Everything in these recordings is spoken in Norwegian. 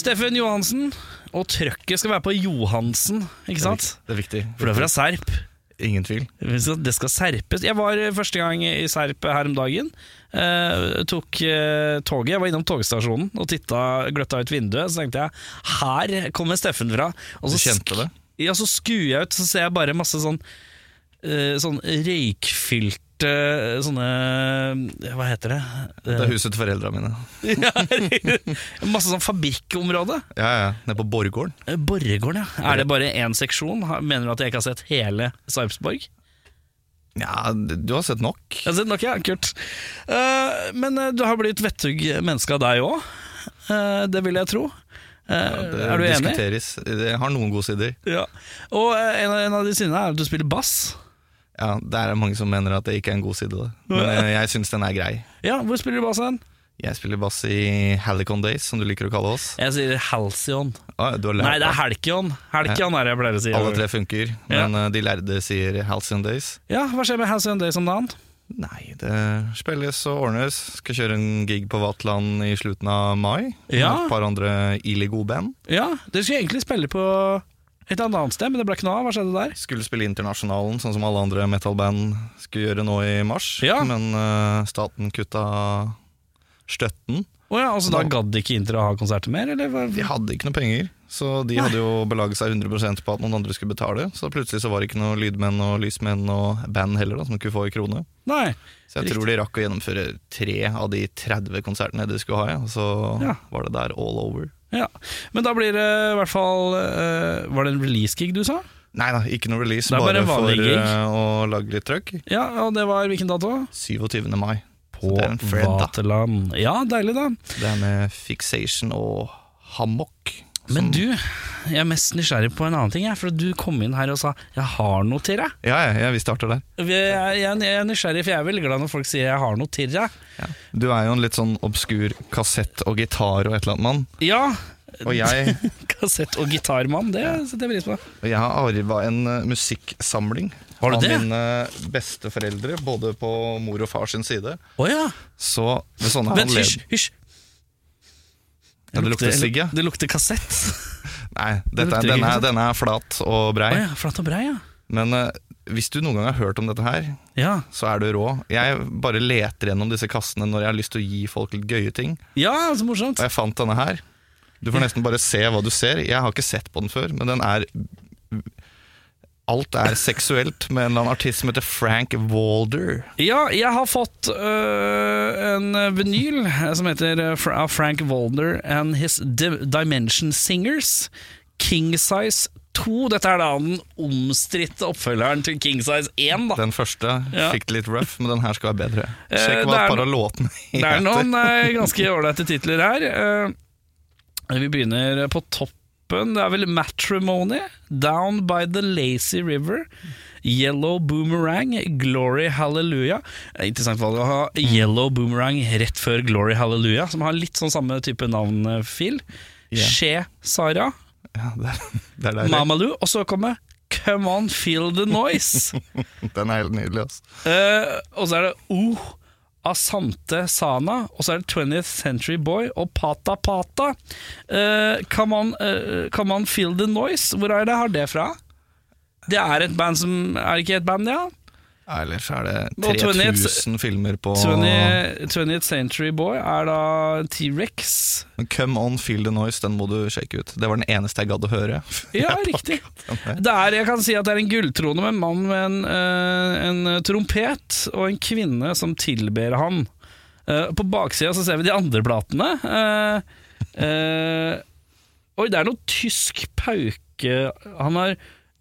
Steffen Johansen og trøkket skal være på Johansen, ikke sant? Det er viktig. For det er fra Serp. Ingen tvil. Så Det skal serpes. Jeg var eh, første gang i Serp her om dagen. Eh, tok eh, toget. Jeg var innom togstasjonen og titta, gløtta ut vinduet. Så tenkte jeg her kommer Steffen fra. Og Du så kjente det? sk- Ja, så skuer jeg ut, så ser jeg bare masse sånn, eh, sånn røykfylte eh, sånne eh, Hva heter det? Det er huset til foreldra mine. ja, masse sånn fabrikkområde. Ja, ja, Nede på Borggården. Eh, Borregaard, ja. Er det bare én seksjon? Ha- Mener du at jeg ikke har sett hele Sarpsborg? Ja, du har sett nok. Jeg har sett nok, ja. Kult. Eh, men eh, du har blitt vettug menneske av deg òg. det vil jeg tro. Eh, Det er du enig? diskuteres. Det har noen gode sider. Ja. Og eh, en, av- en av de sidene er at du spiller bass. Ja, Der er mange som mener at det ikke er en god side. Da. Men eh, jeg syns den er grei. Ja, Hvor spiller du bass hen? Jeg spiller bass i Halicon Days, som du liker å kalle oss. Jeg sier Halcyon. Ah, du har lært Nei, det er Halcyon. Halcyon er det jeg pleier å si. Alle tre funker, men eh, de lærde sier Halcyon Days. Ja, Hva skjer med Halcyon Days om dagen? Nei, det spilles og ordnes. Skal kjøre en gig på Vatland i slutten av mai. med Ja. Et par andre ille gode band. Ja, Dere skulle egentlig spille på et eller annet sted, men det ble ikke noe av. Hva skjedde der? Skulle spille Internasjonalen, sånn som alle andre metalband skulle gjøre nå i mars. Ja. Men eh, staten kutta støtten. Å ja, altså Da gadd ikke Inter å ha konserter mer? eller? hva- De hadde ikke noe penger, så de hadde jo belaget seg 100 på at noen andre skulle betale. Så plutselig så var det ikke noe lydmenn og lysmenn og band heller da, som kunne få i krone. Nei. Så jeg tror de rakk å gjennomføre tre av de 30 konsertene de skulle ha, ja. og så Ja. var det der all over. Ja, Men da blir det i hvert fall eh, Var det en release-gig du sa? Nei da, ikke noe release, Det er bare, bare en for vanlig gig. eh, å lage litt trøkk. Ja, og det var hvilken dato? 27. mai. Så det er en fredag. Vaterland. Ja, deilig, da. Det er med fixation og hammock. Men du, jeg er mest nysgjerrig på en annen ting, jeg, for du kom inn her og sa 'jeg har noe til deg'. Ja, ja, ja, vi starter der. Jeg, jeg, jeg er nysgjerrig, for jeg er veldig glad når folk sier 'jeg har noe til deg'. Du er jo en litt sånn obskur kassett og gitar og et eller annet mann. Ja, Og jeg, kassett- og gitarmann, det setter jeg pris på. og jeg har arva en eh, musikksamling Har du av det? mine eh, besteforeldre, både på mor og far sin side. Å ja. Så ved sånne Vent, anled- hysj, hysj. Ja, det lukter sigg, ja. Det lukter kassett. Nei, dette, lukter er- ikke denne, kassett. er- denne er flat og brei. Å ja, flatt og brei, ja. Men eh, hvis du noen gang har hørt om dette her, Ja, så er du rå. Jeg bare leter gjennom disse kassene når jeg har lyst til å gi folk litt gøye ting. ja så morsomt. Og jeg fant denne her. Du får nesten bare se hva du ser. Jeg har ikke sett på den før, men den er Alt er seksuelt med en eller annen artist som heter Frank Walder. Ja, jeg har fått øh, en vinyl som heter øh, fra- av Frank Walder and His Di- Dimension Singers. King Size 2. Dette er da den omstridte oppfølgeren til King Size 1. Da. Den første Ja. fikk det litt rough, men den her skal være bedre. Eh, Sjekk det hva er et par no- av låtene Det er heter. noen øh, ganske ålreite titler her. Eh, vi begynner på toppen. Det er vel Matrimony, Down by the Lazy River, Yellow Boomerang, Glory Hallelujah. Eh, Interessant valg å ha Mm. Yellow Boomerang rett før Glory Hallelujah, som har litt sånn samme type navnfil. Ja. Skje Sara, Ja, det er, det er deilig. Mamaloo, og så kommer Come On Feel The Noise. Den er helt nydelig. ass. Eh, og så er det O Asante Sana, og så er det 20th Century Boy og Pata Pata. Eh, come, on, eh, come on Feel The Noise, hvor er det, har det fra? Det er et band som Er det ikke et band, ja? Ellers er det Og 20th 3000 filmer på 20, 20th Century Boy er da T-rex. Men Come On Feel The Noise, den må du sjekke ut. Det var den eneste jeg gadd å høre. Ja, riktig. Det er, jeg kan si at det er en gulltrone med en mann med en, eh, en trompet og en kvinne som tilber han. Eh, på baksida så ser vi de andre platene. Eh, eh, oi, det er noe tysk pauke Han har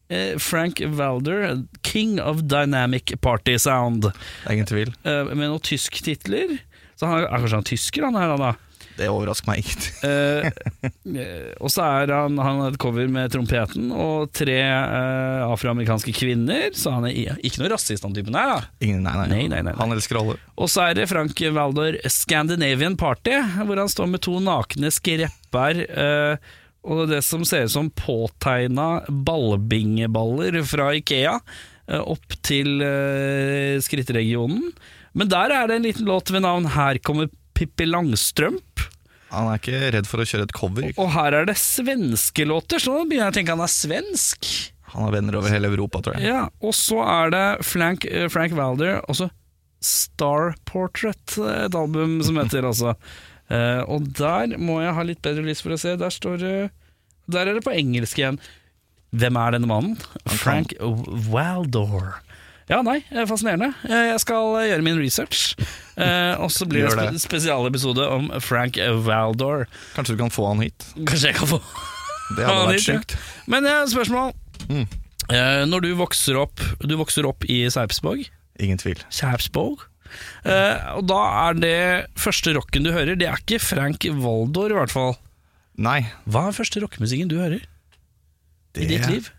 eh, Frank Walder, 'King of Dynamic Party Sound', Det er ingen tvil. eh, med noen tysktitler. Så han er, er kanskje han tysker, han her da? Det overrasker meg ingenting. Eh, eh, og så er han, han har et cover med trompeten og tre eh, afroamerikanske kvinner, så han er i- ikke noe rasist, han typen her. da Ingen, nei, nei, Nei, nei, nei, nei. Han elsker alle. Og så er det Frank Valdor Scandinavian Party, hvor han står med to nakne skrepper eh, og det som ser ut som påtegna ballbingeballer fra Ikea eh, opp til eh, skrittregionen. Men der er det en liten låt ved navn 'Her kommer Pippi Langstrømp'. Han er ikke redd for å kjøre et cover. Og her er det svenske låter, så nå begynner jeg å tenke han er svensk. Han har venner over hele Europa, tror jeg. Ja, Og så er det Frank, eh, Frank Valder, også Star Portrait, eh, et album som heter altså. Eh, og der må jeg ha litt bedre lys for å se. Der står det Der er det på engelsk igjen. Hvem er denne mannen? Frank Waldor. Ja, nei, eh, fascinerende. Eh, Jeg skal eh, gjøre min research. Eh, og så blir det Gjør en det. spe spesialepisode om Frank Waldor. Kanskje du kan få han hit. Kanskje jeg kan få Det Ja, hadde han vært hit, ja. sjukt. Men eh, spørsmål. Mm. Eh, når du vokser opp Du vokser opp i Sarpsborg. Ingen tvil. Sarpsborg. Eh, og da er det første rocken du hører, det er ikke Frank Waldor i hvert fall. Nei. Hva er første rockemusikken du hører i ditt liv?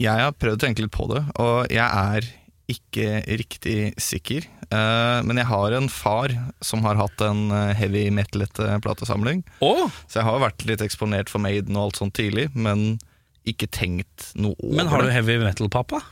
Jeg har prøvd å tenke litt på det, og jeg er ikke riktig sikker. Eh, men jeg har en far som har hatt en eh, heavy metal-ete platesamling. Å! Så jeg har vært litt eksponert for Maiden og alt sånt tidlig, men ikke tenkt noe over Men har du det. heavy metal-pappa?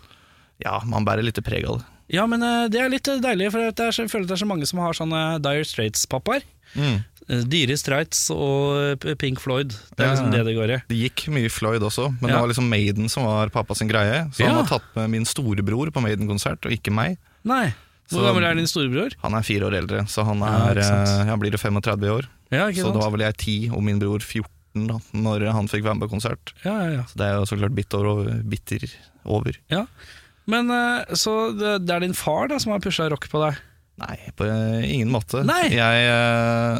Ja, man bærer litt preg av det. Ja, men eh, det er litt eh, deilig, for at det er, så- jeg føler det er så mange som har sånne Dire Straits-pappaer. Mm. Eh, Dire Straits og eh, Pink Floyd. Det er Ja, liksom ja. det det går i. Det gikk mye Floyd også, men Ja. det var liksom Maiden som var pappa sin greie. Så Ja. han har tatt med min storebror på Maiden-konsert, og ikke meg. Nei. Så- Hvor gammel er din storebror? Han er fire år eldre, så han Ja, er, ikke sant. eh, han blir 35 i år. Ja, ikke Så sant? da var vel jeg 10, og min bror 14 da, når han fikk være med på konsert. Ja, ja, ja. Så det er jo så klart bitter over. Bitter over. Ja, men eh, Så det, det er din far da som har pusha rock på deg? Nei, på eh, ingen måte. Nei! Jeg eh,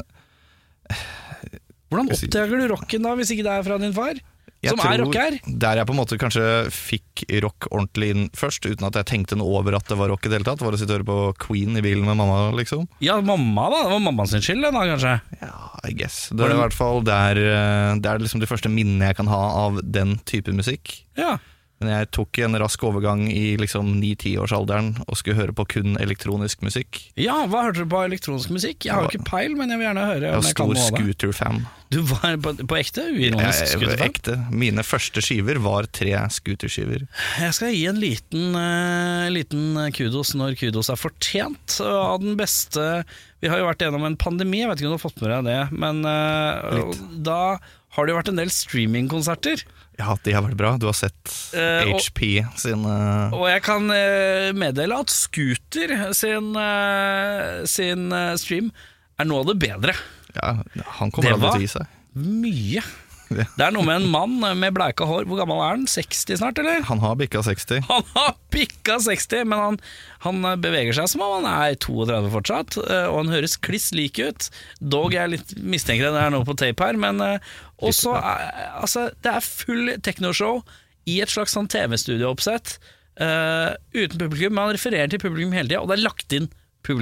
Hvordan Skal jeg si- oppdager du rocken da, hvis ikke det er fra din far? Jeg Som er rocker? Der jeg på en måte kanskje fikk rock ordentlig inn først, uten at jeg tenkte noe over at det var rock i det hele tatt, var å sitte og høre på Queen i bilen med mamma, liksom. Ja, mamma, da. Det var mamma sin skyld, det da, kanskje. Ja, I guess. Det er i hvert fall der, eh, det er liksom de første minnene jeg kan ha av den type musikk. Ja. Men jeg tok en rask overgang i liksom 9-10-årsalderen og skulle høre på kun elektronisk musikk. ja, hva hørte du på elektronisk musikk? Jeg har jo ikke peil, men jeg vil gjerne høre. Jeg om var jeg kan stor noe av det. scooter-fan. Du var på, på ekte? Jeg- Uironisk jeg- skuterfan? Ekte. Mine første skiver var tre scooterskiver. Jeg skal gi en liten, eh, liten kudos når kudos er fortjent. eh, av den beste Vi har jo vært gjennom en pandemi, jeg vet ikke om du har fått med deg det. Men eh, da har det jo vært en del streamingkonserter. Ja, de har vært bra. Du har sett Eh, og- HP sine Og jeg kan eh, meddele at Scooter sin, eh, sin eh, stream er noe av det bedre. Ja, han kommer Det aldri var- til å gi seg. Mye. Ja. Det er noe med en mann med bleika hår. Hvor gammel er han? 60 snart, eller? Han har bikka 60. Han har pikka 60, men han, han beveger seg som om han er 32 fortsatt. eh, Og han høres kliss lik ut. Dog jeg er litt mistenker at det er noe på tape her, men eh, også er- Altså, det er full teknoshow i et slags sånn TV-studio-oppsett. eh, uten publikum, men han refererer til publikum hele tida, og det er lagt inn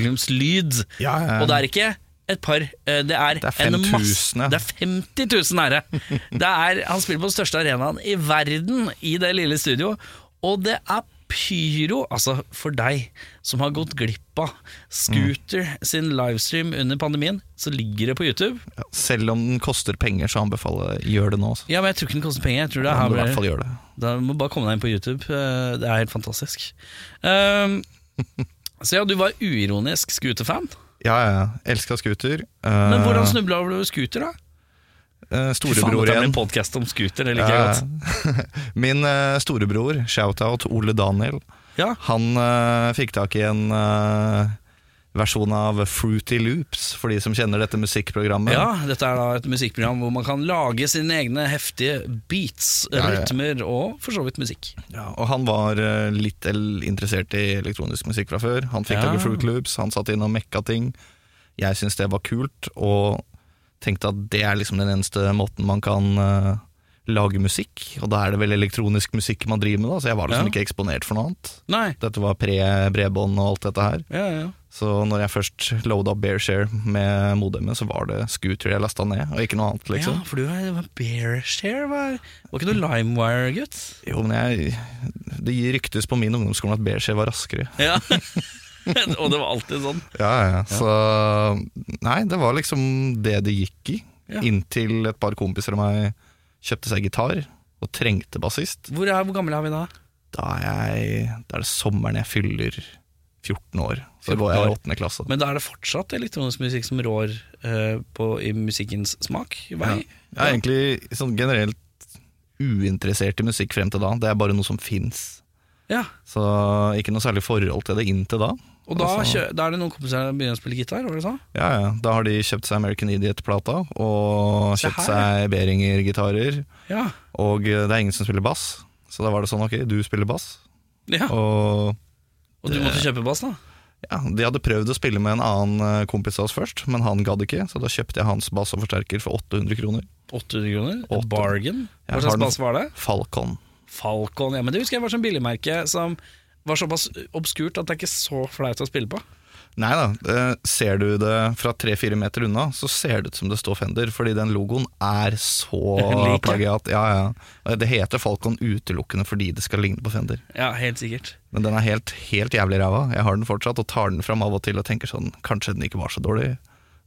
publikumslyd. Ja, ja, ja. Og det er ikke et par, eh, det er, Det er en 5000, masse ja. Det er 50 000 nære. Det er, han spiller på den største arenaen i verden i det lille studio, og det er pyro, altså for deg som har gått glipp av Scooter Mm. sin livestream under pandemien, så ligger det på YouTube. Ja, selv om den koster penger, så anbefaler jeg gjør det nå. Altså. Ja, men jeg tror ikke den koster penger. Jeg tror det Ja, er må her i hvert fall blir- gjør det. Da må du bare komme deg inn på YouTube. Eh, Det er helt fantastisk. Um, så ja, du var uironisk Scooter-fan. Ja, ja, ja. Elska scooter. Men Eh, hvordan snubla du over Scooter, da? eh, Faen, Storebror dette blir igjen. en podcast om Scooter, det liker jeg Ja, godt. ja. Min eh, storebror, shout-out Ole Daniel, Ja. han eh, fikk tak i en eh, versjon av Fruity Loops, for de som kjenner dette musikkprogrammet. Ja, dette er da et musikkprogram hvor man kan lage sine egne heftige beats, Ja, ja. rytmer og for så vidt musikk. Ja, og han var eh, litt el interessert i elektronisk musikk fra før. Han fikk Ja. tak i Fruit Loops, han satt inn og mekka ting. Jeg syntes det var kult, og tenkte at det er liksom den eneste måten man kan eh, lage musikk, og da er det vel elektronisk musikk man driver med, da, så jeg var liksom Ja. ikke eksponert for noe annet. Nei. Dette var pre-bredbånd og alt dette her. Ja, ja. Så når jeg først loada Bearshare med modemet, så var det Scooter jeg lasta ned, og ikke noe annet, liksom. ja for du var, var Bearshare? Var, var ikke du LimeWire-gutt? Jo, men jeg Det ryktes på min ungdomsskole at Bearshare var raskere. Ja. og det var alltid sånn. Ja, ja, Så Nei, det var liksom det det gikk i. Ja. Inntil et par kompiser av meg kjøpte seg gitar og trengte bassist. Hvor, er, hvor gammel er vi da? Da er, jeg, da er det sommeren jeg fyller 14 år. Så 14 går jeg år. i åttende klasse. Men da er det fortsatt elektronisk musikk som rår eh, på, i musikkens smak? Vei? Jeg er egentlig sånn generelt uinteressert i musikk frem til da. Det er bare noe som fins. Ja. Så ikke noe særlig forhold til det inntil da. Og da, Altså- kjø, da er det noen kompiser som begynner å spille gitar? Var det sånn? Ja, ja. Da har de kjøpt seg American Idiot-plata, og Se kjøpt her, seg Behringer-gitarer. Ja. Og eh, det er ingen som spiller bass, så da var det sånn ok, du spiller bass. ja. Og Og du måtte kjøpe bass, da? ja, de hadde prøvd å spille med en annen eh, kompis av oss først, men han gadd ikke, så da kjøpte jeg hans bass og forsterker for 800 kroner. 800 kroner? Åtte. Et bargain? Jeg har Hva slags den- bass var det? Falcon. Falcon, ja, men det husker jeg var sånn billigmerke som var såpass obskurt at det er ikke så flaut å spille på. Nei da, eh, ser du det fra 3-4 meter unna, så ser det ut som det står Fender, fordi den logoen er så Lik, ja. plagiat. Ja, ja. Eh, Det heter Falcon utelukkende fordi det skal ligne på Fender. Ja, helt sikkert. Men den er helt, helt jævlig ræva. Jeg har den fortsatt og tar den fram av og til og tenker sånn Kanskje den ikke var så dårlig.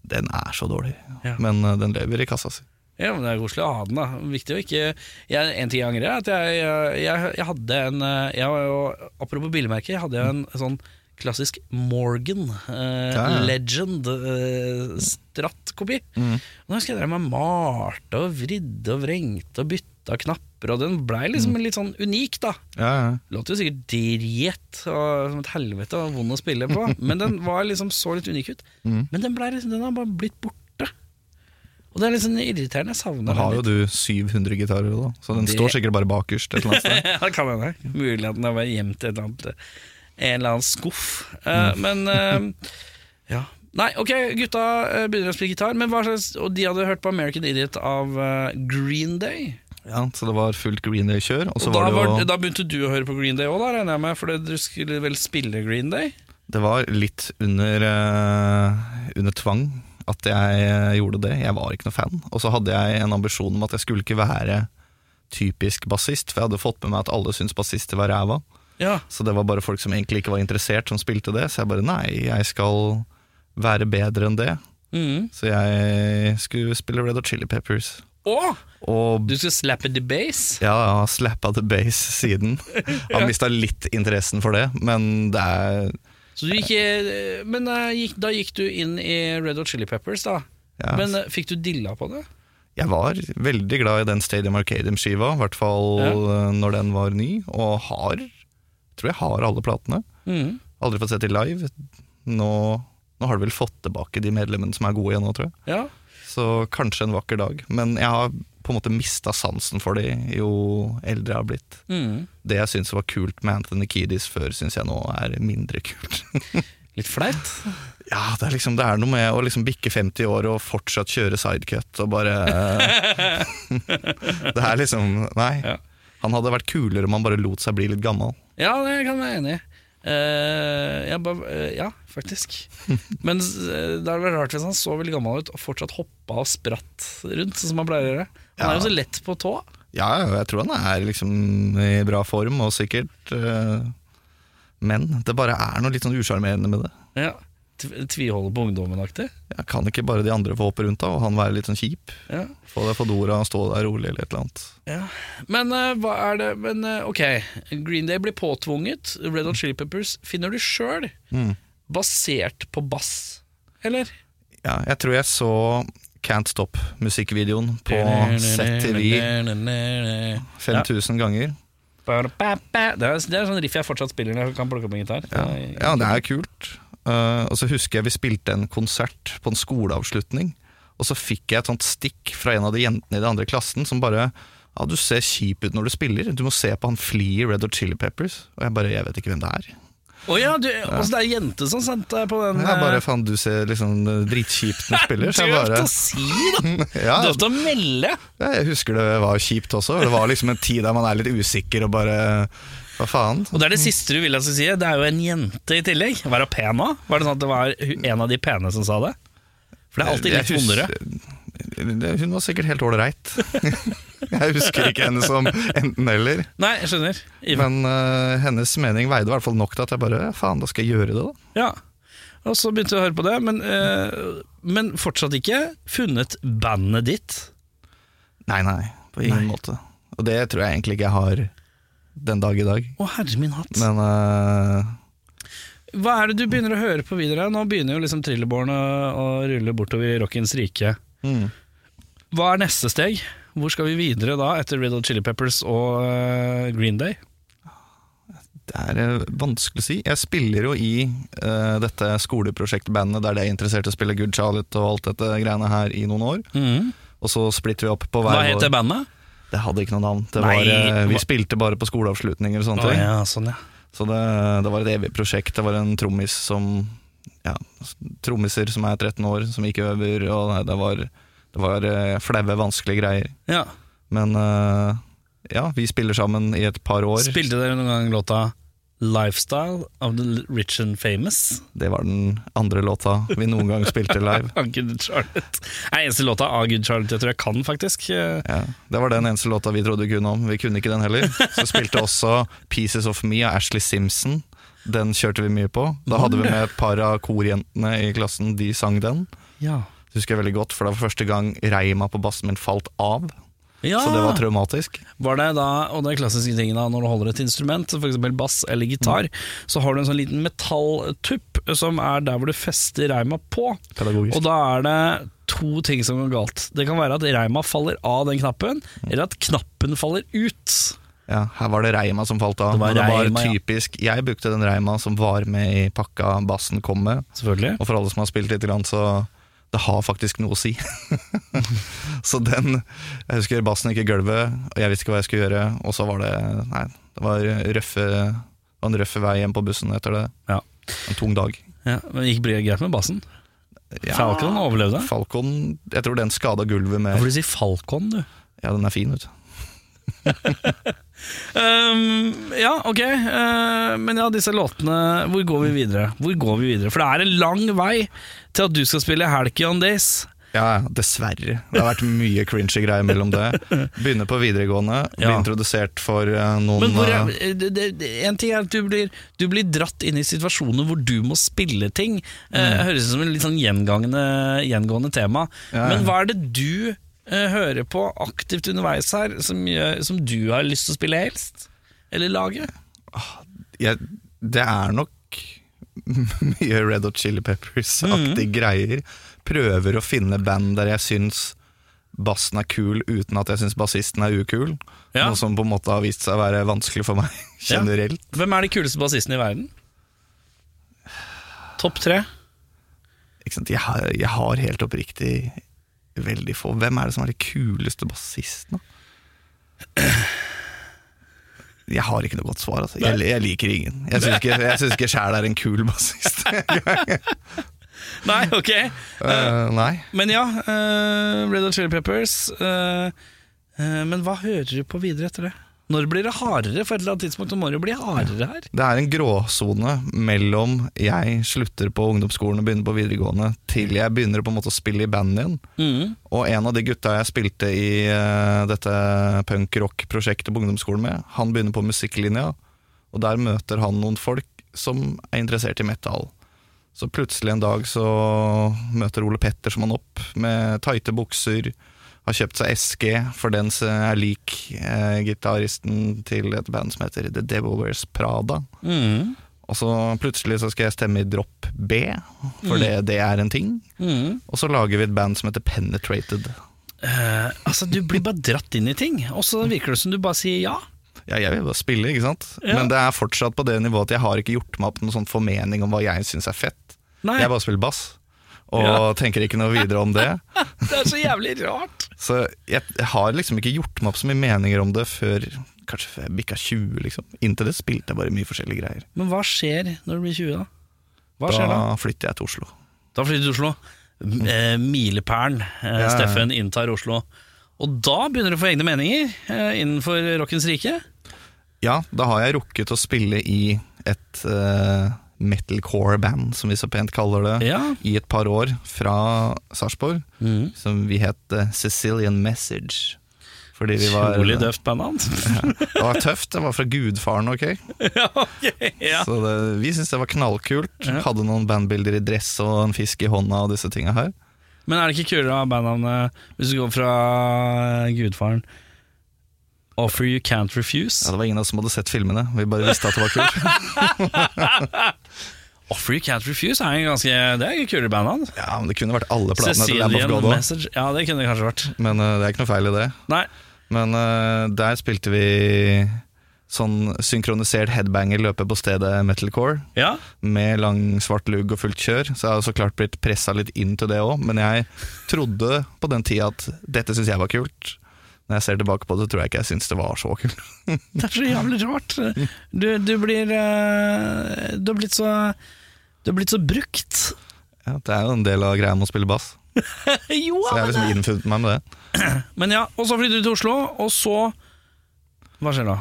Den er så dårlig. Ja. Men eh, den lever i kassa si. Ja, men Det er koselig å ha den. da Viktig å ikke jeg, En ting jeg angrer, er at jeg, jeg, jeg hadde en eh, jeg var jo, Apropos bilmerke, jeg hadde jo en sånn klassisk Morgan eh, Ja, ja. Legend eh, Stratt-kopi. Mhm. Nå husker jeg drev meg malte og vridde og vrengte og bytta knapper, og den blei Mm. liksom litt sånn unik, da. Ja, ja. Låt jo sikkert drit og som et helvete og vond å spille på, men den var liksom så litt unik ut. Mm. Men den, ble liksom, den har bare blitt borte. Og det er litt sånn irriterende. Jeg Nå savner har den. jo du 700 gitarer, da, så den Det- står sikkert bare bakerst et eller annet sted. ja, det kan hende. Mulig at den har vært gjemt i et eller annet- eh, en eller annen skuff. Eh, Mm. Men eh, ja. Nei, ok, gutta eh, begynner å spille gitar, men hva slags, og de hadde hørt på American Idiot av eh, Green Day. Ja, så det var fullt Green Day-kjør, og så Og var da, det jo var, da begynte du å høre på Green Day òg, regner jeg med, for det- du skulle vel spille Green Day? Det var litt under, eh, under tvang at jeg eh, gjorde det. Jeg var ikke noe fan. Og så hadde jeg en ambisjon om at jeg skulle ikke være typisk bassist, for jeg hadde fått med meg at alle syntes bassister var ræva. Ja, Så det var bare folk som egentlig ikke var interessert, som spilte det. Så jeg bare nei, jeg skal være bedre enn det. Mhm. Så jeg skulle spille Red Hot Chili Peppers. Å! Og Du skal slappe the base? ja, jeg har slappa the base siden. Har mista litt interessen for det, men det er Så du gikk, eh, men eh, gikk, da gikk du inn i Red Hot Chili Peppers, da. ja. Men eh, fikk du dilla på det? Jeg var veldig glad i den Stadium Arcadium-skiva, i hvert fall eh, når den var ny, og har Tror jeg har alle platene. Mhm. Aldri fått sett de live. Nå, nå har de vel fått tilbake de medlemmene som er gode igjen nå, tror jeg. Ja. Så kanskje en vakker dag. Men jeg har på en måte mista sansen for de jo eldre jeg har blitt. Mhm. Det jeg syntes var kult med Anthony Kiedis før, syns jeg nå er mindre kult. Litt flaut. Ja, det er, liksom, det er noe med å liksom bikke 50 år og fortsatt kjøre sidecut og bare Det er liksom Nei. Ja. Han hadde vært kulere om han bare lot seg bli litt gammel. Ja, det kan jeg være enig i. Eh, jeg bare, eh, ja, faktisk. Men eh, det hadde vært rart hvis han så veldig gammel ut og fortsatt hoppa og spratt rundt, sånn som han pleier å gjøre. Han er Ja. jo så lett på tå. Ja, jeg tror han er liksom i bra form og sikkert eh, Men det bare er noe litt sånn usjarmerende med det. Ja. Tv- Tviholder på ungdommen-aktig. Jeg kan ikke bare de andre få hoppe rundt da, og han være litt sånn kjip? Ja. Få deg fodora og stå der rolig eller et eller annet. Men eh, hva er det Men eh, ok, Green Day blir påtvunget. Red Hot Chili Peppers finner du sjøl, Mm. basert på bass. Eller? Ja, jeg tror jeg så Can't Stop-musikkvideoen på ZTV 5000 ganger. Det er, det er sånn riff jeg fortsatt spiller når jeg kan plukke opp en gitar. Ja, ja det er kult. Eh, og så husker jeg vi spilte en konsert på en skoleavslutning, og så fikk jeg et sånt stikk fra en av de jentene i den andre klassen som bare Ja, du ser kjip ut når du spiller, du må se på han Flea i Red Hot Chili Peppers. Og jeg bare Jeg vet ikke hvem det er. Å ja, du, altså det er jente som sendte deg på den eh, Jeg bare faen, du ser liksom eh, dritkjipt ut når du spiller. Så jeg bare Døvt å si, da! ja, Døvt å melde! ja, jeg husker det var kjipt også. Det var liksom en tid der man er litt usikker og bare Hva faen? Og det er det siste du vil jeg skal si. Det er jo en jente i tillegg. Var hun pen òg? Var det sånn at det var hu- en av de pene som sa det? For det er alltid litt Jeg hus- vondere. Hun var sikkert helt ålreit. jeg husker ikke henne som enten-eller. Nei, jeg skjønner. Ivan. Men eh, hennes mening veide i hvert fall nok til at jeg bare ja, faen, da skal jeg gjøre det, da. Ja, og så begynte vi å høre på det, men, eh, men fortsatt ikke funnet bandet ditt. Nei, nei, på ingen måte. Og det tror jeg egentlig ikke jeg har den dag i dag. Å, herre min hatt. Men eh, Hva er det du begynner å høre på videre? Nå begynner jo liksom trillebåren å, å rulle bortover i rockens rike. mm. Hva er neste steg? Hvor skal vi videre da, etter Red Hot Chili Peppers og eh, Green Day? det er eh, vanskelig å si. Jeg spiller jo i eh, dette skoleprosjektbandet der det er interessert i å spille Good Charlotte og alt dette greiene her i noen år. Og så splitter vi opp på hver Mm. Hva het vår- det bandet? Det hadde ikke noe navn. Det Nei, var, eh, vi hva- spilte bare på skoleavslutninger og sånne Å ting. ja, sånn ja. Så det, det var et evig prosjekt. Det var en trommis som ja, s- Trommiser som er 13 år, som ikke øver, og nei, det var, det var eh, flaue, vanskelige greier. ja. Men eh, ja, vi spiller sammen i et par år. Spilte dere noen gang låta Lifestyle of the Rich and Famous? Det var den andre låta vi noen gang spilte live. Av Good Charlotte. Det er eneste låta av Good Charlotte jeg tror jeg kan, faktisk. Eh, Ja, det var den eneste låta vi trodde vi kunne om. Vi kunne ikke den heller. Så spilte også Pieces of Me av Ashley Simpson. Den kjørte vi mye på. Da hadde vi med et par av korjentene i klassen. De sang den. Ja. Det husker jeg veldig godt, for det var første gang reima på bassen min falt av. ja. Så det var traumatisk. Var det da, og det er klassiske tingene da, når du holder et instrument, f.eks. bass eller gitar, så har du en sånn liten metalltupp som er der hvor du fester reima på. Pedagogisk. Og da er det to ting som går galt. Det kan være at reima faller av den knappen, eller at knappen faller ut. ja, her var det reima som falt av. Det Det var var, det var reima, ja. typisk. Jeg brukte den reima som var med i pakka bassen kom med. Selvfølgelig. Og for alle som har spilt litt, grann, så det har faktisk noe å si. så den Jeg husker bassen gikk i gulvet, og jeg visste ikke hva jeg skulle gjøre. Og så var det Nei, det var, røffe, det var en røffe vei hjem på bussen etter det. Ja. En tung dag. Ja, men gikk det greit med bassen? Falcon overlevde. Falcon Jeg tror den skada gulvet Hvorfor med du sier Falcon, du? Ja, den er fin, vet du. Ehm, ja, ok. Eh, men ja, disse låtene Hvor går vi videre? Hvor går vi videre? For det er en lang vei til at du skal spille Halcyon Days. Ja, dessverre. Det har vært mye cringy greier mellom det. Begynner på videregående, blir Ja. introdusert for eh, noen Men hvor er, eh, det, det, det, en ting er at du blir, du blir dratt inn i situasjoner hvor du må spille ting. Eh, Mm. høres ut som en litt sånn gjengangende, gjengående tema. Ja, ja. Men hva er det du eh, hører på aktivt underveis her, som, gjør- som du har lyst til å spille helst? Eller lage? jeg, Det er nok mye Red Hot Chili Mhm. Peppers-aktige greier. Prøver å finne band der jeg syns bassen er kul uten at jeg syns bassisten er ukul. Ja. Noe som på en måte har vist seg å være vanskelig for meg Ja. generelt. Hvem er de kuleste bassistene i verden? Topp tre? Ikke sant? Jeg, har, jeg har helt oppriktig veldig få. Hvem er det som er de kuleste bassistene? Jeg har ikke noe godt svar. Altså. Jeg, jeg liker ingen. Jeg syns ikke, jeg synes ikke sjæl er en kul bassist. Nei, ok. Eh, nei. Men ja, eh, Red Hot Chili Peppers. eh, eh, men hva hører du på videre etter det? Når blir det hardere? For et eller annet tidspunkt må det jo bli hardere her. Det er en gråsone mellom jeg slutter på ungdomsskolen og begynner på videregående, til jeg begynner på en måte å spille i band igjen. Og en av de gutta jeg spilte i eh, dette punk-rock-prosjektet på ungdomsskolen med, han begynner på musikklinja, og der møter han noen folk som er interessert i metal. Så plutselig en dag så møter Ole Pettersen han opp med tighte bukser, har kjøpt seg SG, for den s- er lik eh, gitaristen til et band som heter The Devil Wears Prada. Mm-hmm. Mhm. Og så plutselig så skal jeg stemme i drop B, for Mm. det, det er en ting. Mhm. Og så lager vi et band som heter Penetrated. Eh, altså, du blir bare dratt inn i ting, og så virker det som du bare sier ja. Ja, jeg vil bare spille, ikke sant? Ja. Men det er fortsatt på det nivået at jeg har ikke gjort meg opp noen sånn formening om hva jeg syns er fett. Nei, Jeg bare spiller bass. og Ja. tenker ikke noe videre om det. Det er så jævlig rart. Så jeg, jeg har liksom ikke gjort meg opp så mye meninger om det før kanskje før jeg bikka 20, liksom. Inntil det spilte jeg bare mye forskjellige greier. Men hva skjer når du blir 20, da? Hva da, skjer da? flytter jeg til Oslo. Da flytter du til Oslo. M- Eh, Milepælen. Eh, ja. Steffen inntar Oslo. Og da begynner du å få egne meninger eh, innenfor rockens rike. Ja, da har jeg rukket å spille i et eh, metalcore-band, som vi så pent kaller det, Ja. Mm. i et par år fra Sarpsborg. Som vi het eh, Sicilian Message. Fordi vi var Utrolig døvt band hans. Det var tøft. Det var fra gudfaren, ok? ja, ok, ja. Så det, vi syntes det var knallkult. Ja. Hadde noen bandbilder i dress og en fisk i hånda og disse tinga her. Men er det ikke kulere å ha bandnavnet hvis du går fra eh, gudfaren Offer You Can't Ja, Refuse? det var ingen av oss som hadde sett filmene. Vi bare visste at det var kult. Offer You Can't Refuse er en ganske Det er en kulere bandnavn. Ja, men Det kunne vært alle platene til Lamb of Cecilian God òg, Message. Ja, det kunne det kanskje vært. men eh, det er ikke noe feil i det. Nei, Men eh, der spilte vi sånn synkronisert headbanger løpe på stedet metalcore. ja Med lang, svart lugg og fullt kjør. Så jeg har jo så klart blitt pressa litt inn til det òg, men jeg trodde på den tida at dette syns jeg var kult. Når jeg ser tilbake på det, tror jeg ikke jeg syns det var så kult. Det er så jævlig rart. Du, du blir eh, Du har blitt så Du har blitt så brukt. Ja, det er jo en del av greia med å spille bass. jo, Så jeg har men, liksom innfunnet meg med det. men ja, og så flytter du til Oslo, og så Hva skjer da?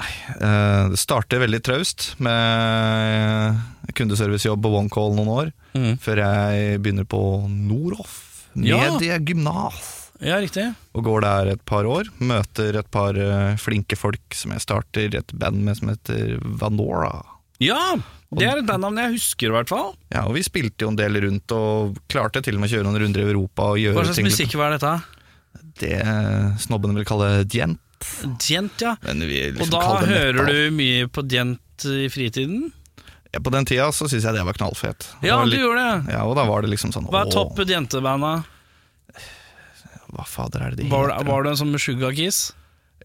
Eh, Det starter veldig traust med kundeservicejobb og onecall noen år, før jeg begynner på Noroff Ja. mediegymnas. Ja, riktig. Og går der et par år, møter et par eh, flinke folk som jeg starter et band med som heter Vanora. Ja! Det er et bandnavn jeg husker, i hvert fall. Ja, og vi spilte jo en del rundt og klarte til og med å kjøre noen runder i Europa og Hva gjøre slags ting musikk var dette? Det eh, snobbene vil kalle djent. Djent, ja. Men vi liksom Og da kaller det metal. hører du mye på djent i fritiden? Ja, på den tida så syns jeg det var knallfett. Det Ja, var du litt- gjorde det. Ja, og da var det liksom sånn Hva er «Åh, topp djentebanda? Hva fader er det de Var, heter?» var du en sånn Sugarkiss?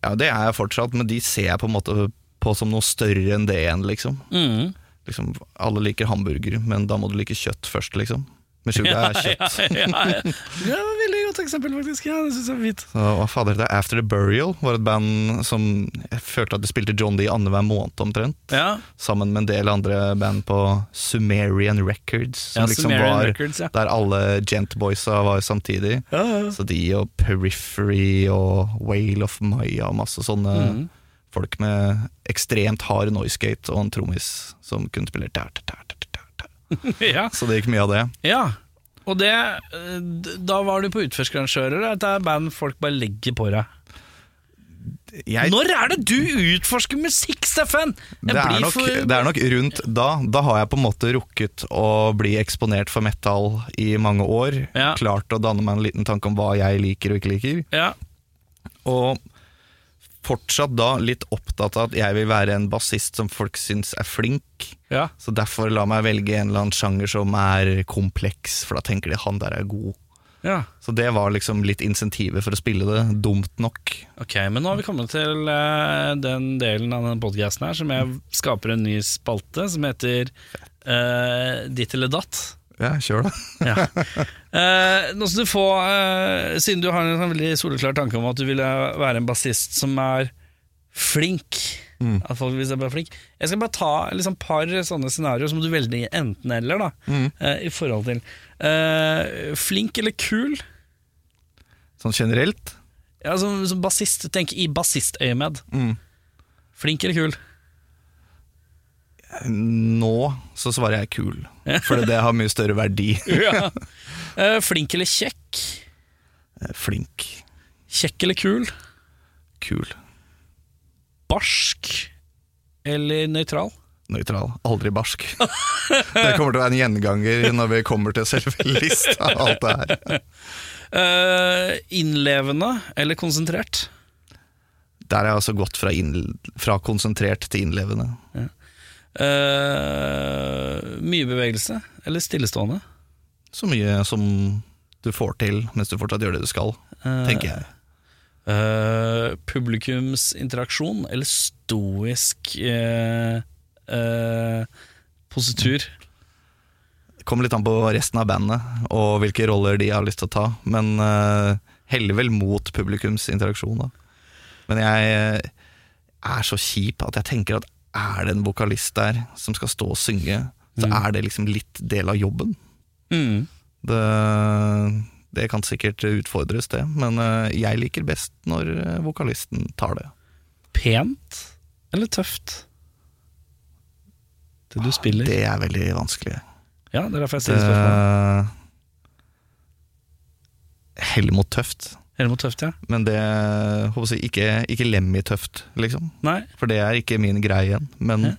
Ja, det er jeg fortsatt, men de ser jeg på en måte på som noe større enn det igjen, liksom. Mm. liksom. Alle liker hamburger, men da må du like kjøtt først, liksom. Men suga er kjøtt. Ja, ja, ja. Det var et veldig godt eksempel, faktisk. Ja, det synes jeg er fint. Så, hva fader heter det? After The Burial var et band som jeg følte at de spilte John Dee annenhver måned omtrent. Ja, Sammen med en del andre band på Sumerian Records, som ja liksom Sumerian var Records, ja. der alle gent-boysa var samtidig. Ja, ja. Så de og Periphery og Whale of Maya og masse sånne Mhm. folk med ekstremt hard noisegate og en trommis som kunne spille tær, tær, tær, tær, tær, tær. ja. Så det gikk mye av det. ja. Og det eh, d- Da var du på utforskararrangører, eller? Dette er band folk bare legger på deg. Jeg, Når er det du utforsker musikk, Steffen?! Jeg det, er blir nok, for- det er nok rundt da. Da har jeg på en måte rukket å bli eksponert for metal i mange år. Ja. Klart å danne meg en liten tanke om hva jeg liker og ikke liker. ja. Og fortsatt da litt opptatt av at jeg vil være en bassist som folk syns er flink. ja. Så derfor la meg velge en eller annen sjanger som er kompleks, for da tenker de han der er god. Ja. Så det var liksom litt insentivet for å spille det, dumt nok. Ok, men nå har vi kommet til eh, den delen av denne podcasten her som jeg skaper en ny spalte som heter eh, Ditt eller datt. Ja, kjør da. Ja. Eh, nå skal du få, eh, siden du har en sånn veldig soleklar tanke om at du ville være en bassist som er flink At folk vil se på er flink Jeg skal bare ta et liksom, par sånne scenarioer som du velger enten-eller, da. eh, I forhold til eh, flink eller kul. Sånn generelt. Ja, som, som bassist, tenk i bassistøyemed. Mm. Flink eller kul? Nå så svarer jeg kul, for det har mye større verdi. Ja. Eh, flink eller kjekk? Eh, Flink, Kjekk eller kul? kul, Barsk eller nøytral? nøytral, aldri barsk. Det kommer til å være en gjenganger når vi kommer til selve lista og alt det her. Eh, innlevende eller konsentrert? Der er jeg altså gått fra, inn, fra konsentrert til innlevende. Eh, mye bevegelse eller stillestående? Så mye som du får til mens du fortsatt gjør det du skal, Eh, tenker jeg. eh, publikumsinteraksjon eller stoisk eh, eh, positur? Kommer litt an på resten av bandet og hvilke roller de har lyst til å ta. Men eh, heller vel mot publikums interaksjon, da. Men jeg eh, er så kjip at jeg tenker at er det en vokalist der som skal stå og synge, så er det liksom litt del av jobben. Mm. Det, det kan sikkert utfordres, det. Men eh, jeg liker best når eh, vokalisten tar det. Pent eller tøft? Det du spiller. Det er veldig vanskelig. Ja, det er derfor jeg stiller spørsmål. Eh, Hell mot tøft. Eller mot tøft, ja. Men det håper jeg, ikke, ikke Lemmy-tøft, liksom. Nei. For det er ikke min greie igjen. Men Ja.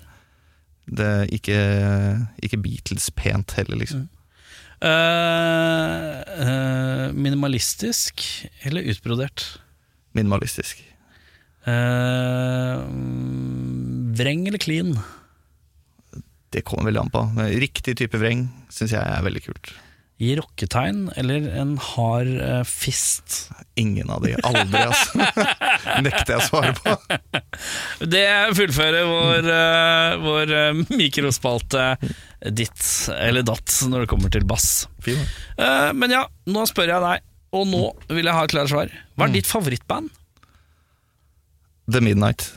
det er ikke, ikke Beatles-pent heller, liksom. Mm. Eh, eh, minimalistisk eller utbrodert? Minimalistisk. Eh, mm, vreng eller clean? Det kommer veldig an på. Men Riktig type vreng syns jeg er veldig kult. Gi rocketegn eller en hard eh, fist? Ingen av de. Aldri, altså. Nekter jeg å svare på. Det fullfører vår, eh, vår eh, mikrospalte ditt eller datt når det kommer til bass. Fin, da. Eh, men ja, nå spør jeg deg, og nå vil jeg ha et klart svar. Hva er ditt favorittband? The Midnight.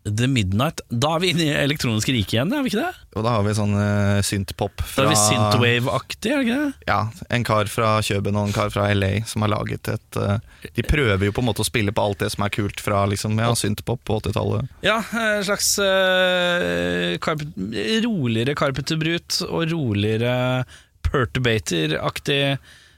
The Midnight. Da er vi inne i elektroniske riket igjen, er vi ikke det? Og da har vi sånn uh, synth-pop Da fra er vi Synthwave-aktig, er det ikke det? Ja, en kar fra Kjøben og en kar fra LA som har laget et eh, De prøver jo på en måte å spille på alt det som er kult fra liksom, ja, synth-pop på 80-tallet. Ja, en slags eh, carpet, roligere Carpenter Brut og roligere Perturbator-aktig.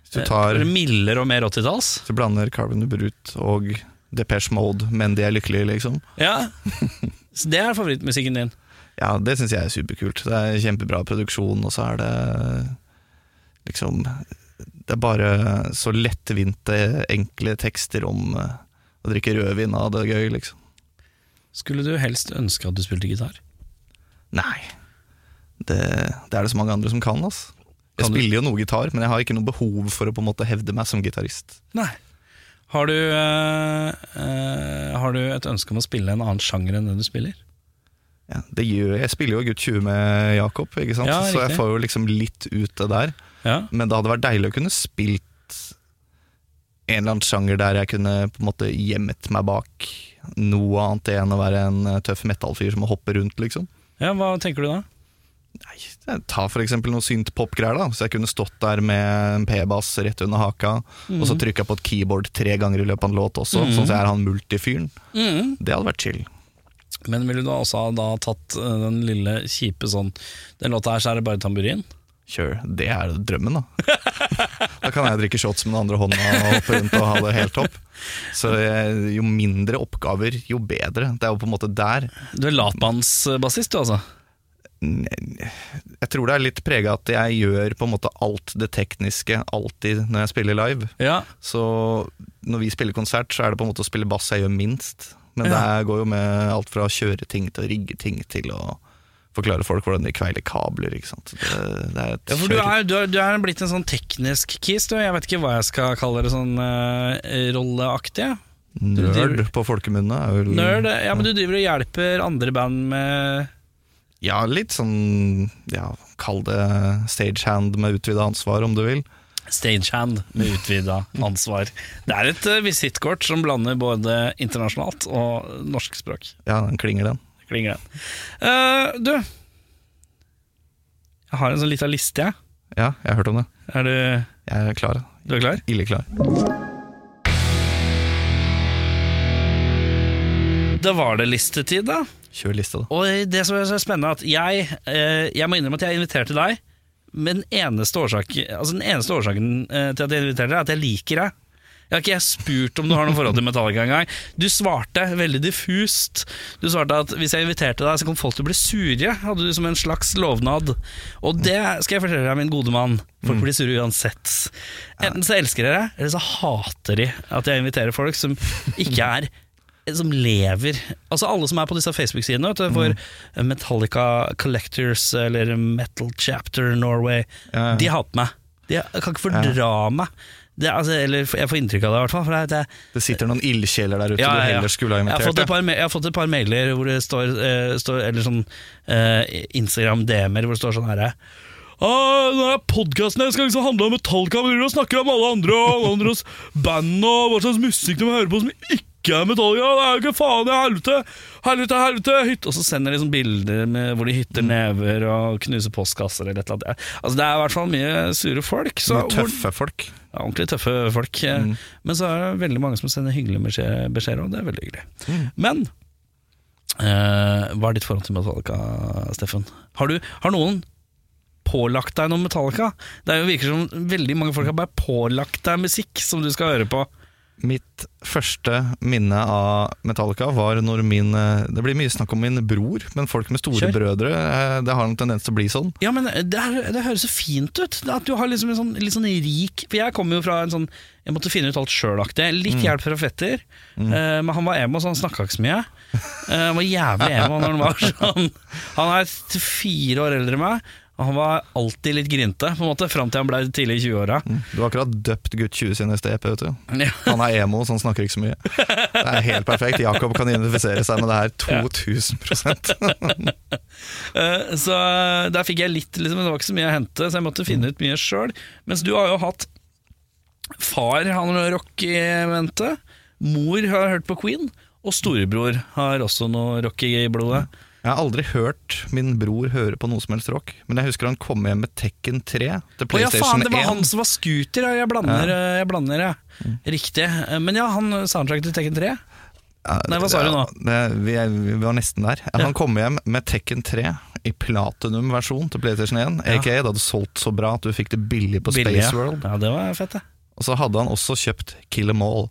Hvis du tar eh, Mildere og mer 80-talls. Så blander Carbon Brut og Depeche Mode, men de er lykkelige, liksom. Ja. Så det er favorittmusikken din. Ja, det syns jeg er superkult. Det er kjempebra produksjon, og så er det liksom Det er bare så lettvinte, enkle tekster om eh, å drikke rødvin av det gøy, liksom. Skulle du helst ønske at du spilte gitar? Nei. Det, det er det så mange andre som kan, ass. Jeg Kan du- spiller jo noe gitar, men jeg har ikke noe behov for å på en måte hevde meg som gitarist. Nei. Har du, eh, eh, har du et ønske om å spille en annen sjanger enn den du spiller? Ja, det gjør jeg. Jeg spiller jo Gutt 20 med Jakob, ikke sant? Ja, så riktig. jeg får jo liksom litt ut det der. Ja. Men det hadde vært deilig å kunne spilt en eller annen sjanger der jeg kunne på en måte gjemt meg bak noe annet enn å være en eh, tøff metallfyr som hopper rundt, liksom. ja, hva tenker du da? Nei, Ta for eksempel noen synth-pop-greier, da. Så jeg kunne stått der med en p-bass rett under haka, og så trykka på et keyboard tre ganger i løpet av en låt også, sånn at jeg er han multifyren. Det hadde vært chill. Men ville du da også ha da tatt eh, den lille kjipe sånn Den låta her så er det bare tamburin? Sure, det er drømmen, da. da kan jeg drikke shots med den andre hånda og hoppe rundt og ha det helt topp. Så jeg, jo mindre oppgaver, jo bedre. Det er jo på en måte der Du er latmannsbassist, du altså? Jeg tror det er litt prega at jeg gjør på en måte alt det tekniske alltid når jeg spiller live. Ja. Så når vi spiller konsert, så er det på en måte å spille bass jeg gjør minst. Men det Ja. her går jo med alt fra å kjøre ting til å rigge ting til å forklare folk hvordan de kveiler kabler, ikke sant. Det, det er et for du kjør. er, du, er, du er blitt en sånn teknisk kis, du. Jeg vet ikke hva jeg skal kalle det sånn eh, rolleaktig. Nerd på folkemunne er vel Nerd. eh, Ja, men du driver og hjelper andre band med Ja, litt sånn ja, Kall det stagehand med utvida ansvar, om du vil. Stagehand med utvida ansvar. Det er et eh, visittkort som blander både internasjonalt og norsk språk. Ja, den klinger, den. Det Klinger den. Eh, du, jeg har en sånn lita liste, jeg. Ja, jeg har hørt om det. Er du, Jeg er klar. du er klar? Ille klar. Da var det listetid, da. Kjør liste, da. Og det som er så spennende, er at jeg, eh, jeg må innrømme at jeg inviterte deg. Men den eneste, årsak, altså den eneste årsaken eh, til at jeg inviterte deg, er at jeg liker deg. Jeg har ikke spurt om du har noe forhold til Metallica engang. Du svarte veldig diffust. Du svarte at hvis jeg inviterte deg, så kom folk til å bli sure. Hadde du som en slags lovnad. Og det skal jeg fortelle deg, min gode mann. Folk blir sure uansett. Enten så elsker de deg, eller så hater de at jeg inviterer folk som ikke er som lever Altså alle som er på disse Facebook-sidene vet du, Mm. for Metallica Collectors eller Metal Chapter Norway, Ja, ja. de hater meg. De jeg kan ikke fordra meg. Det, er- altså, eller jeg får inntrykk av det, i hvert fall. For det, er at jeg- Det sitter noen ildkjeler der ute Ja, ja, du ja. heller skulle ha jeg, har invitert. fått et ja. par, ma- jeg har fått et par mailer hvor det står, eh, står Eller sånn eh, Instagram-DM-er hvor det står sånn herre ah, denne podkasten skal liksom handle om Metallica. Vi driver og snakker om alle andre og alle andres band og hva slags musikk de hører på som ikke er Metallica. Det er jo ikke faen i helvete! Helvete, helvete! Hytte. Og så sender de sånn bilder med, hvor de Mm. hytter never og knuser postkasser eller et eller annet. Altså, det er i hvert fall mye sure folk. Så, Noen tøffe folk. ja, ordentlig tøffe folk. eh, Men så er det veldig mange som sender hyggelige beskjed- beskjeder, og det er veldig hyggelig. Men eh, hva er ditt forhold til Metallica, Steffen? Har, du, har noen pålagt deg noe Metallica? Det er jo virker som veldig mange folk har bare pålagt deg musikk som du skal høre på. Mitt første minne av Metallica var når min eh, Det blir mye snakk om min bror, men folk med store Kjør. brødre eh, Det har en tendens til å bli sånn. Ja, men det, er, det høres så fint ut. Det At du har liksom en sånn, litt sånn rik For jeg kommer jo fra en sånn Jeg måtte finne ut alt sjøl-aktig. Litt hjelp fra fetter, eh, men han var emo, så han snakka ikke så mye. Eh, han var jævlig emo når han var sånn. Han er t- fire år eldre enn meg, og han var alltid litt grinte, på en måte, fram til han ble tidlig i 20-åra. Du har akkurat døpt gutt 20 sin neste EP, vet du. Ja. Han er emo, så han snakker ikke så mye. Det er helt perfekt. Jakob kan identifisere seg med det her 2000 Eh, Så der fikk jeg litt, liksom, men det var ikke så mye å hente, så jeg måtte finne ut mye sjøl. Mens du har jo hatt far, han har rock i mente, mor har hørt på Queen, og storebror har også noe rock i blodet. Jeg har aldri hørt min bror høre på noe som helst rock, men jeg husker han kom hjem med Tekken 3 til Å ja, faen, PlayStation det var 1. han som var scooter, ja, jeg blander, eh, jeg blander, ja. Riktig. Eh, Men ja, han soundtrack til Tekken 3. Ja, Nei, hva sa du nå? Det, vi, er, vi var nesten der. Han kom hjem med Tekken 3 i platinum-versjon til PlayStation 1, Ja. aka det hadde solgt så bra at du fikk det billig på Billig, ja. Space World. Ja, det var fett, det. Og så hadde han også kjøpt Kill Em All.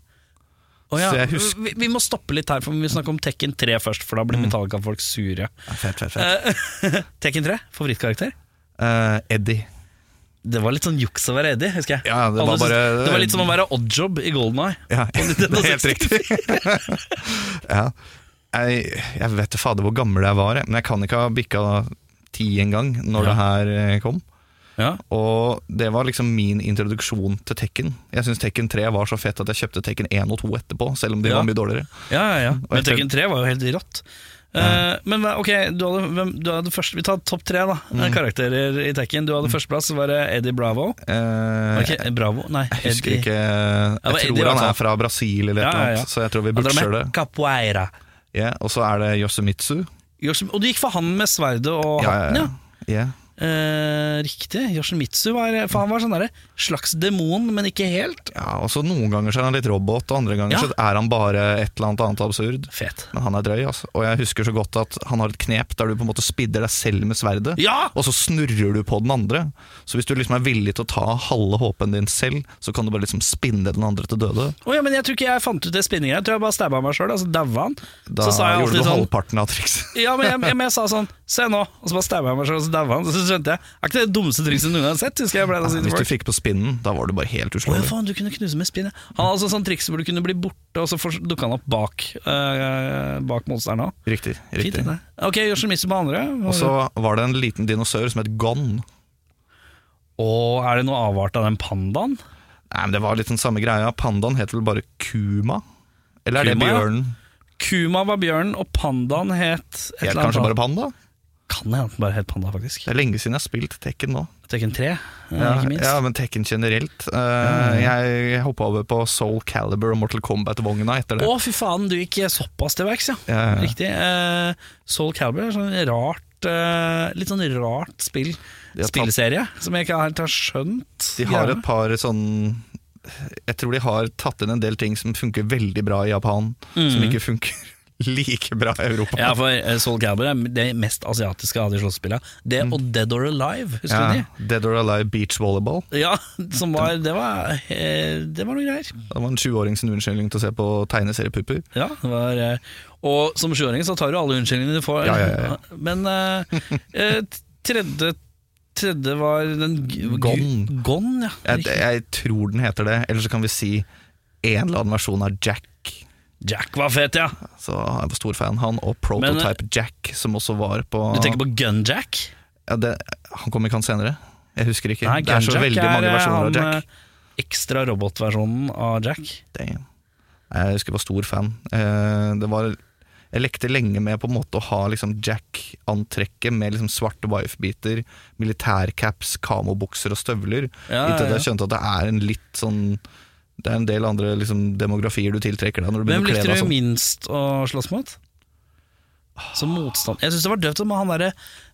Å ja, Så jeg husker- vi, vi må stoppe litt her, for vi må snakke om Tekken 3 først, for da blir Metallica-folk sure. Ja, Fett, fett, fett. Eh, Tekken 3, favorittkarakter? Eh, Eddie. Det var litt sånn juks å være Eddie, husker jeg. Ja, det var Alle syntes- bare- det var litt som å være oddjob i Golden Eye. Ja, det er helt riktig. ja. jeg, jeg vet ikke fader hvor gammel jeg var, jeg, men jeg kan ikke ha bikka ti en gang når det her eh, kom. Ja. Og det var liksom min introduksjon til Tekken. Jeg syns Tekken 3 var så fett at jeg kjøpte Tekken 1 og 2 etterpå, selv om de Ja. var mye dårligere. Ja, ja, ja. Men jeg tror- Tekken 3 var jo helt rått. Eh, men hva- ok, du hadde, hvem, du hadde først, Vi tar topp tre da Mm. karakterer i Tekken. Du hadde førsteplass, så var det Eddie Bravo. Eh, Var det ikke Bravo? Nei, Jeg husker Eddie- ikke var Jeg Eddie, tror han altså. er fra Brasil eller et Ja, ja, eller ja. annet, så jeg tror vi Han drev butcher med det. Capoeira. Ja, og så er det Yosemitsu. Yoshi- Og du gikk for han med sverdet og Ja, hatten, ja. ja, ja. Eh, riktig. Yoshimitsu var, for han var sånn der, slags demon, men ikke helt. ja, og så Noen ganger så er han litt robot, og andre ganger Ja. så er han bare et eller annet annet absurd. Fet. Men han er drøy, altså. Og jeg husker så godt at han har et knep der du på en måte spidder deg selv med sverdet, Ja! og så snurrer du på den andre. Så hvis du liksom er villig til å ta halve håpen din selv, så kan du bare liksom spinne den andre til døde. Å ja, men jeg tror ikke jeg fant ut det spinninga. Jeg tror jeg bare stabba meg sjøl, altså daua han. Da så sa jeg gjorde alltid du sånn halvparten av trikset. Ja, men jeg, jeg, men jeg sa sånn Se nå! Og så bare stabba jeg meg sjøl, og så daua han. Så skjønte jeg. Er ikke det det dummeste trikset du noen gang har sett? Husker jeg ble da Hvis du fikk på spinnen, da var du bare helt Å ja, uslåelig. faen, du kunne knuse med spinn. ja. Han hadde altså sånn triks hvor du kunne bli borte, og så fors- dukka han opp bak, eh, bak monsteren òg. Riktig. Fint. riktig. det. Ok, Yoshimitsu på andre. Og så var det en liten dinosaur som het Gon. Og er det noe avart av den pandaen? Nei, men Det var litt den samme greia. Pandaen het vel bare Kuma? Eller er Kuma, det ja. bjørnen? Kuma var bjørnen, og pandaen het et Het eller annet kanskje bare annet. panda? Kan hende den bare het panda, faktisk. Det er lenge siden jeg har spilt Tekken nå. Tekken 3, eh, Ja, ikke minst. Mm. ja, men Tekken generelt. Eh, Jeg hoppa over på Soul Caliber og Mortal Kombat-vogna etter det. Å, fy faen, du gikk såpass til verks, ja. Ja, ja. Riktig. Eh, Soul Calibur er sånn rart eh, Litt sånn rart spill De har tatt- spillserie, som jeg ikke helt har skjønt. De har greiene. et par sånn Jeg tror de har tatt inn en del ting som funker veldig bra i Japan, som ikke funker like bra i Europa. Mm. ja, for eh, Soul Calibur er det mest asiatiske av de slåssespillene. Det og Dead or Alive, husker Mm. Ja, du de? Dead or Alive Beach Volleyball. Ja, som var, det, var, eh, det var noe greier. Det var en 20-åring sin unnskyldning til å se på tegneseriepupper. Ja, det var, eh, og som sjuåring så tar du alle unnskyldningene du får. Ja, ja, ja, ja. Men eh, eh, tredje, tredje var den g- Gone. Gone, ja. Jeg, Riktig. jeg tror den heter det, eller så kan vi si en eller annen versjon av Jack. Jack var fet, ja. Så jeg var stor fan han, og Prototype Jack, som også var på Du tenker på Gunjack? ja, det, Han kom ikke han senere? Jeg husker ikke. Nei, det er så Gunjack veldig mange er, eh, versjoner han, av Jack. eh, Ekstra robotversjonen av Jack. Damn. Nei, Jeg husker jeg var stor fan. Eh, Det var Jeg lekte lenge med på en måte å ha liksom Jack-antrekket med liksom svarte wife-biter, militærcaps, kamobukser og støvler, Ja, ja, inntil ja. jeg skjønte at det er en litt sånn det er en del andre liksom, demografier du tiltrekker deg når du Hvem begynner å likte kle du deg sånn. minst å slåss mot? Som motstand Jeg syns det var døvt med han derre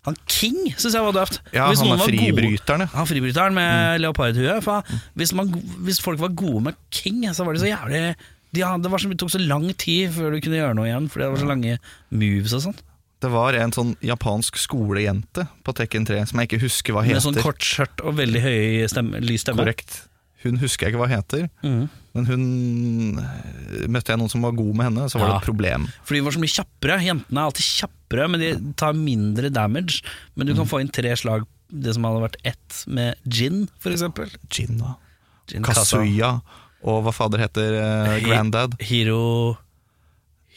Han King, syns jeg var døvt. Ja, Hvis han noen er var gode- fribryteren, Mm. ja. Han fribryteren med leopardhue. For han, hvis, man, hvis folk var gode med King, så var de så jævlig de, hadde- det, var så, det tok så lang tid før du kunne gjøre noe igjen, fordi det var så lange moves og sånn. Det var en sånn japansk skolejente på Tekken 3 som jeg ikke husker hva Med heter. sånn kort skjørt og veldig høy stemme, lys stemme. Korrekt. Hun husker jeg ikke hva heter, Mhm. men hun eh, Møtte jeg noen som var god med henne, så var Ja. det et problem. For de var så mye kjappere. Jentene er alltid kjappere, men de tar mindre damage. Men du Mm. kan få inn tre slag, det som hadde vært ett med gin, for eksempel. Jin, da. Gin Kasa. Kazuya og hva fader heter eh, Hi- granddad? Hiro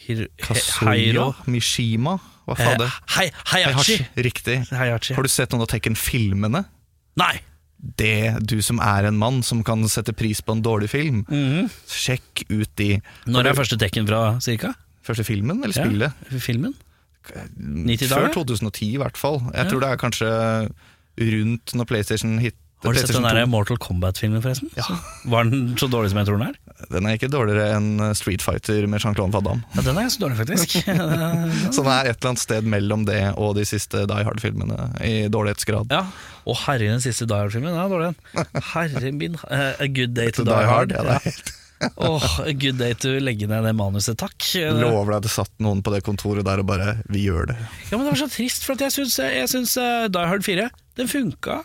Hiro He- Kazuya Heiro Mishima? Hva Eh, fader? Hei, Hayachi. Riktig. Hayachi. Har du sett noen av Tekken-filmene? Nei! Det du som er en mann som kan sette pris på en dårlig film, Mhm. sjekk ut de Når er første tekken fra, cirka? første filmen eller Ja. spillet. Filmen? 90 Før dager? 2010 i hvert fall. Jeg Ja. tror det er kanskje rundt når PlayStation hit Har du sett den PlayStation der Mortal Kombat-filmen, forresten? Ja. Var den så dårlig som jeg tror den er? 2. Den er ikke dårligere enn eh, Street Fighter med Jean-Claude Van Damme. Ja, den er så dårlig, faktisk. Så den er et eller annet sted mellom det og de siste Die Hard-filmene i dårlighetsgrad. Ja, og herre den siste Die Hard-filmen, den er dårlig den. Herre min, eh, A Good Day to Så Die Hard. ja, det er helt Åh, A Good Day to legge ned det manuset, takk. Ja, Lover deg det satt noen på det kontoret der og bare Vi gjør det. men det var så trist, for at jeg syns, jeg syns eh, Die Hard 4, den funka.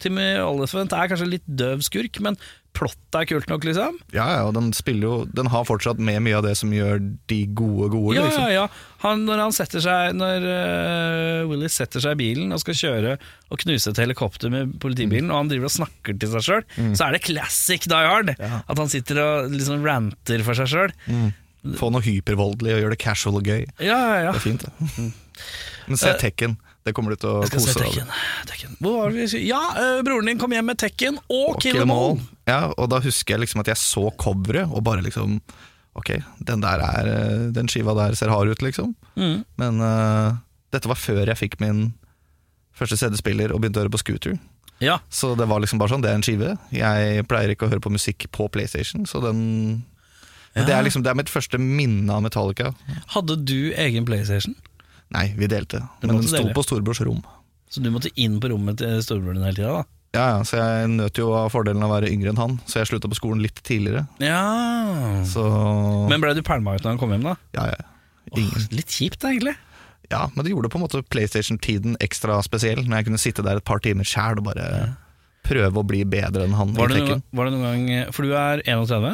Timmy Oliphant er kanskje litt døv skurk, men plottet er kult nok, liksom. Ja, ja, og den spiller jo Den har fortsatt med mye av det som gjør de gode gode, Ja, liksom. ja, ja. Han, når han setter seg Når eh, Willy setter seg i bilen og skal kjøre og knuse et helikopter med politibilen, og han driver og snakker til seg sjøl, så er det classic Die Hard. At han sitter og liksom ranter for seg sjøl. Få noe hypervoldelig og gjøre det casual og gøy. Ja, ja, ja. Det er fint, det. Men se Ah. Mm. Eh, Tekken. Det kommer du til å Jeg skal kose se deg over. Tekken. Tekken. Hvor var vi? Ja, eh, broren din kom hjem med Tekken og, Og Kill Them All. Ja, og da husker jeg liksom at jeg så coveret og bare liksom Ok, den der er eh, Den skiva der ser hard ut, liksom. Mm. Men eh, dette var før jeg fikk min første CD-spiller og begynte å høre på Scooter. Ja. Så det var liksom bare sånn, det er en skive. Jeg pleier ikke å høre på musikk på PlayStation, så den Men Ah. det er liksom det er mitt første minne av Metallica. Hadde du egen PlayStation? Nei, vi delte, Du men måtte den sto dele. på storebrors rom. Så du måtte inn på rommet til storebroren din hele tida, da? Ja, ja, Så jeg nøt jo av fordelen av å være yngre enn han, så jeg slutta på skolen litt tidligere. Ja. Så Men blei du pælma ut når han kom hjem, da? ja, ja. Ingen. Åh, litt kjipt, egentlig. ja, men det gjorde på en måte PlayStation-tiden ekstra spesiell, når jeg kunne sitte der et par timer sjæl og bare prøve å bli bedre enn han Var i det, noen, tekken. var det noen gang For du er 31?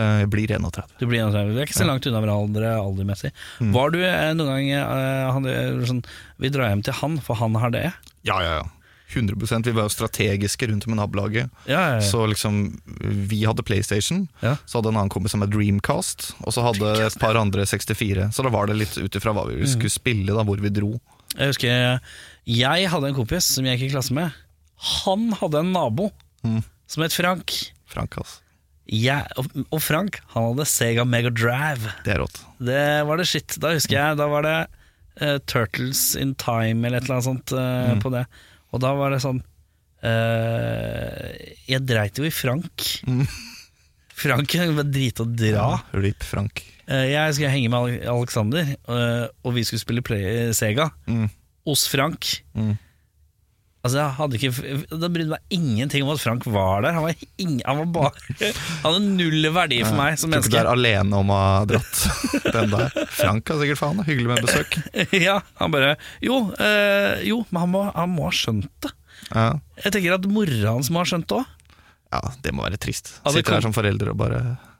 Eh, Jeg blir 31. Du blir 31, Vi er ikke så langt unna hverandre aldermessig. Var du eh, noen gang eh, han, eh, sånn, Vi drar hjem til han, for han har det. Ja, ja, ja. 100 Vi var jo strategiske rundt med nabolaget. Ja, ja, ja. Så liksom, vi hadde PlayStation, Ja. så hadde en annen kompis som hadde Dreamcast, og så hadde et par andre 64. Så da var det litt ut ifra hva Mm. vi skulle spille, da, hvor vi dro. Jeg husker eh, jeg hadde en kompis som jeg gikk i klasse med. Han hadde en nabo Mm. som het Frank. Frank, ass. Jeg, og, og Frank han hadde Sega Mega Drive. Det er rått. Det var det shit. Da husker jeg, da var det eh, Turtles in Time eller et eller annet sånt eh, på det. Og da var det sånn eh, Jeg dreit jo i Frank. Frank var drita og dra. RIP Frank. Eh, jeg skulle henge med Ale- Alexander, eh, og vi skulle spille play eh, Sega Mm. hos Frank. Mm. Altså, jeg hadde ikke, Da brydde meg ingenting om at Frank var der. Han, var ing, han, var bare, han hadde null verdi for meg som Tror ikke du menneske. er alene om å ha dratt den der. Frank har sikkert faen, hyggelig med besøk. Ja, han bare Jo, eh, jo men han må, han må ha skjønt det. Ja, Jeg tenker at mora hans må ha skjønt det òg. ja det må være trist. Ja, det Sitter kom- her som forelder og bare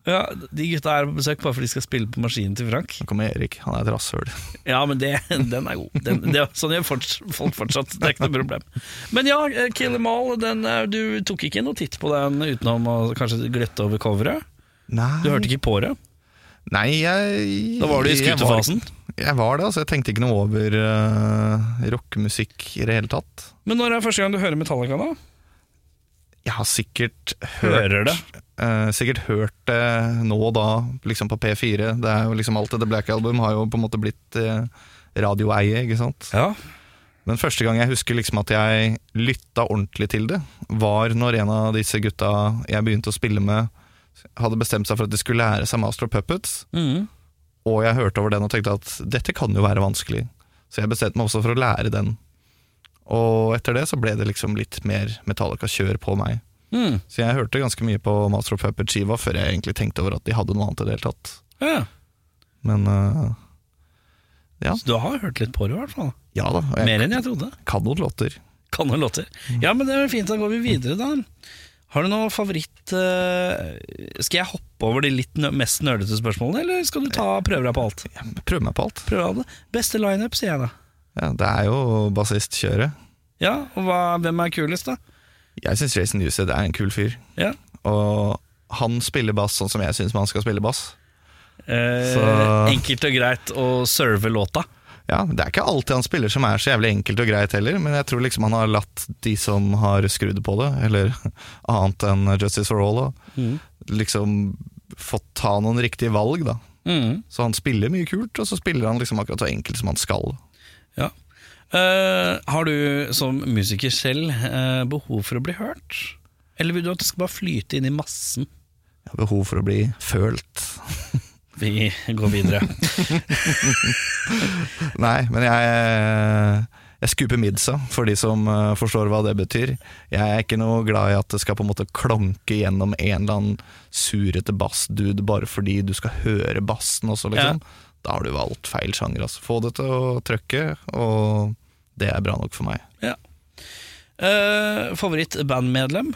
Ja, de gutta er på besøk bare fordi de skal spille på maskinen til Frank. Nå kommer Erik, han er et rasshøl. Ja, men det, den er god. Den, det, sånn gjør forts, folk fortsatt. Det er ikke noe problem. Men ja, eh, Kill Em All, den, eh, du tok ikke noe titt på den utenom å kanskje gløtte over coveret? Du Nei, hørte ikke på det? Nei jeg Da var du i jeg var ikke- skutefasen. Jeg var det, altså. Jeg tenkte ikke noe over eh, rockemusikk i det hele tatt. Men når er første gang du hører Metallica, da? Jeg har sikkert hørt Hører det. eh, Sikkert hørt det nå og da, liksom på P4. Det er jo liksom alt det The Black Album har jo på en måte blitt eh, radioeie, ikke sant. Ja. Men første gang jeg husker liksom at jeg lytta ordentlig til det, var når en av disse gutta jeg begynte å spille med, hadde bestemt seg for at de skulle lære seg Master of Puppets, Mhm. og jeg hørte over den og tenkte at dette kan jo være vanskelig. Så jeg bestemte meg også for å lære den. Og etter det så ble det liksom litt mer Metallica-kjør på meg. Mhm. Så jeg hørte ganske mye på Master of Puppet-skiva før jeg egentlig tenkte over at de hadde noe annet i det hele tatt. ja. Men øh, Ja. Så du har hørt litt på det, i hvert fall. ja da, og jeg Mer enn jeg trodde. kan noen låter. Kan noen låter. Ja, men det er fint. Da går vi videre, da. Har du noe favoritt eh, Skal jeg hoppe over de litt nø mest nerdete spørsmålene, eller skal du ta prøve deg på alt? Jeg prøver meg på alt. Prøve av det. Beste lineup, sier jeg da. Ja, det er jo bassistkjøret. Ja, og hva, hvem er kulest, da? Jeg syns Jason Newsted er en kul fyr. Ja. Og han spiller bass sånn som jeg syns man skal spille bass. Eh, Så- enkelt og greit å serve låta. Ja, Det er ikke alltid han spiller som er så jævlig enkelt og greit heller, men jeg tror liksom han har latt de som har skrudd på det, eller annet enn Justice for All, da, liksom fått ta noen riktige valg, da. Mhm. Så han spiller mye kult, og så spiller han liksom akkurat så enkelt som han skal. Ja. Eh, har du som musiker selv eh, behov for å bli hørt? Eller vil du at det skal bare flyte inn i massen? Jeg har behov for å bli følt. Vi går videre. Nei, men jeg jeg skuper midsa, for de som eh, forstår hva det betyr. Jeg er ikke noe glad i at det skal på en måte klonke gjennom en eller annen surete bassdude bare fordi du skal høre bassen også, liksom. Da har du valgt feil sjanger, altså. Få det til å trøkke, og det er bra nok for meg. ja. Eh, Favoritt-bandmedlem?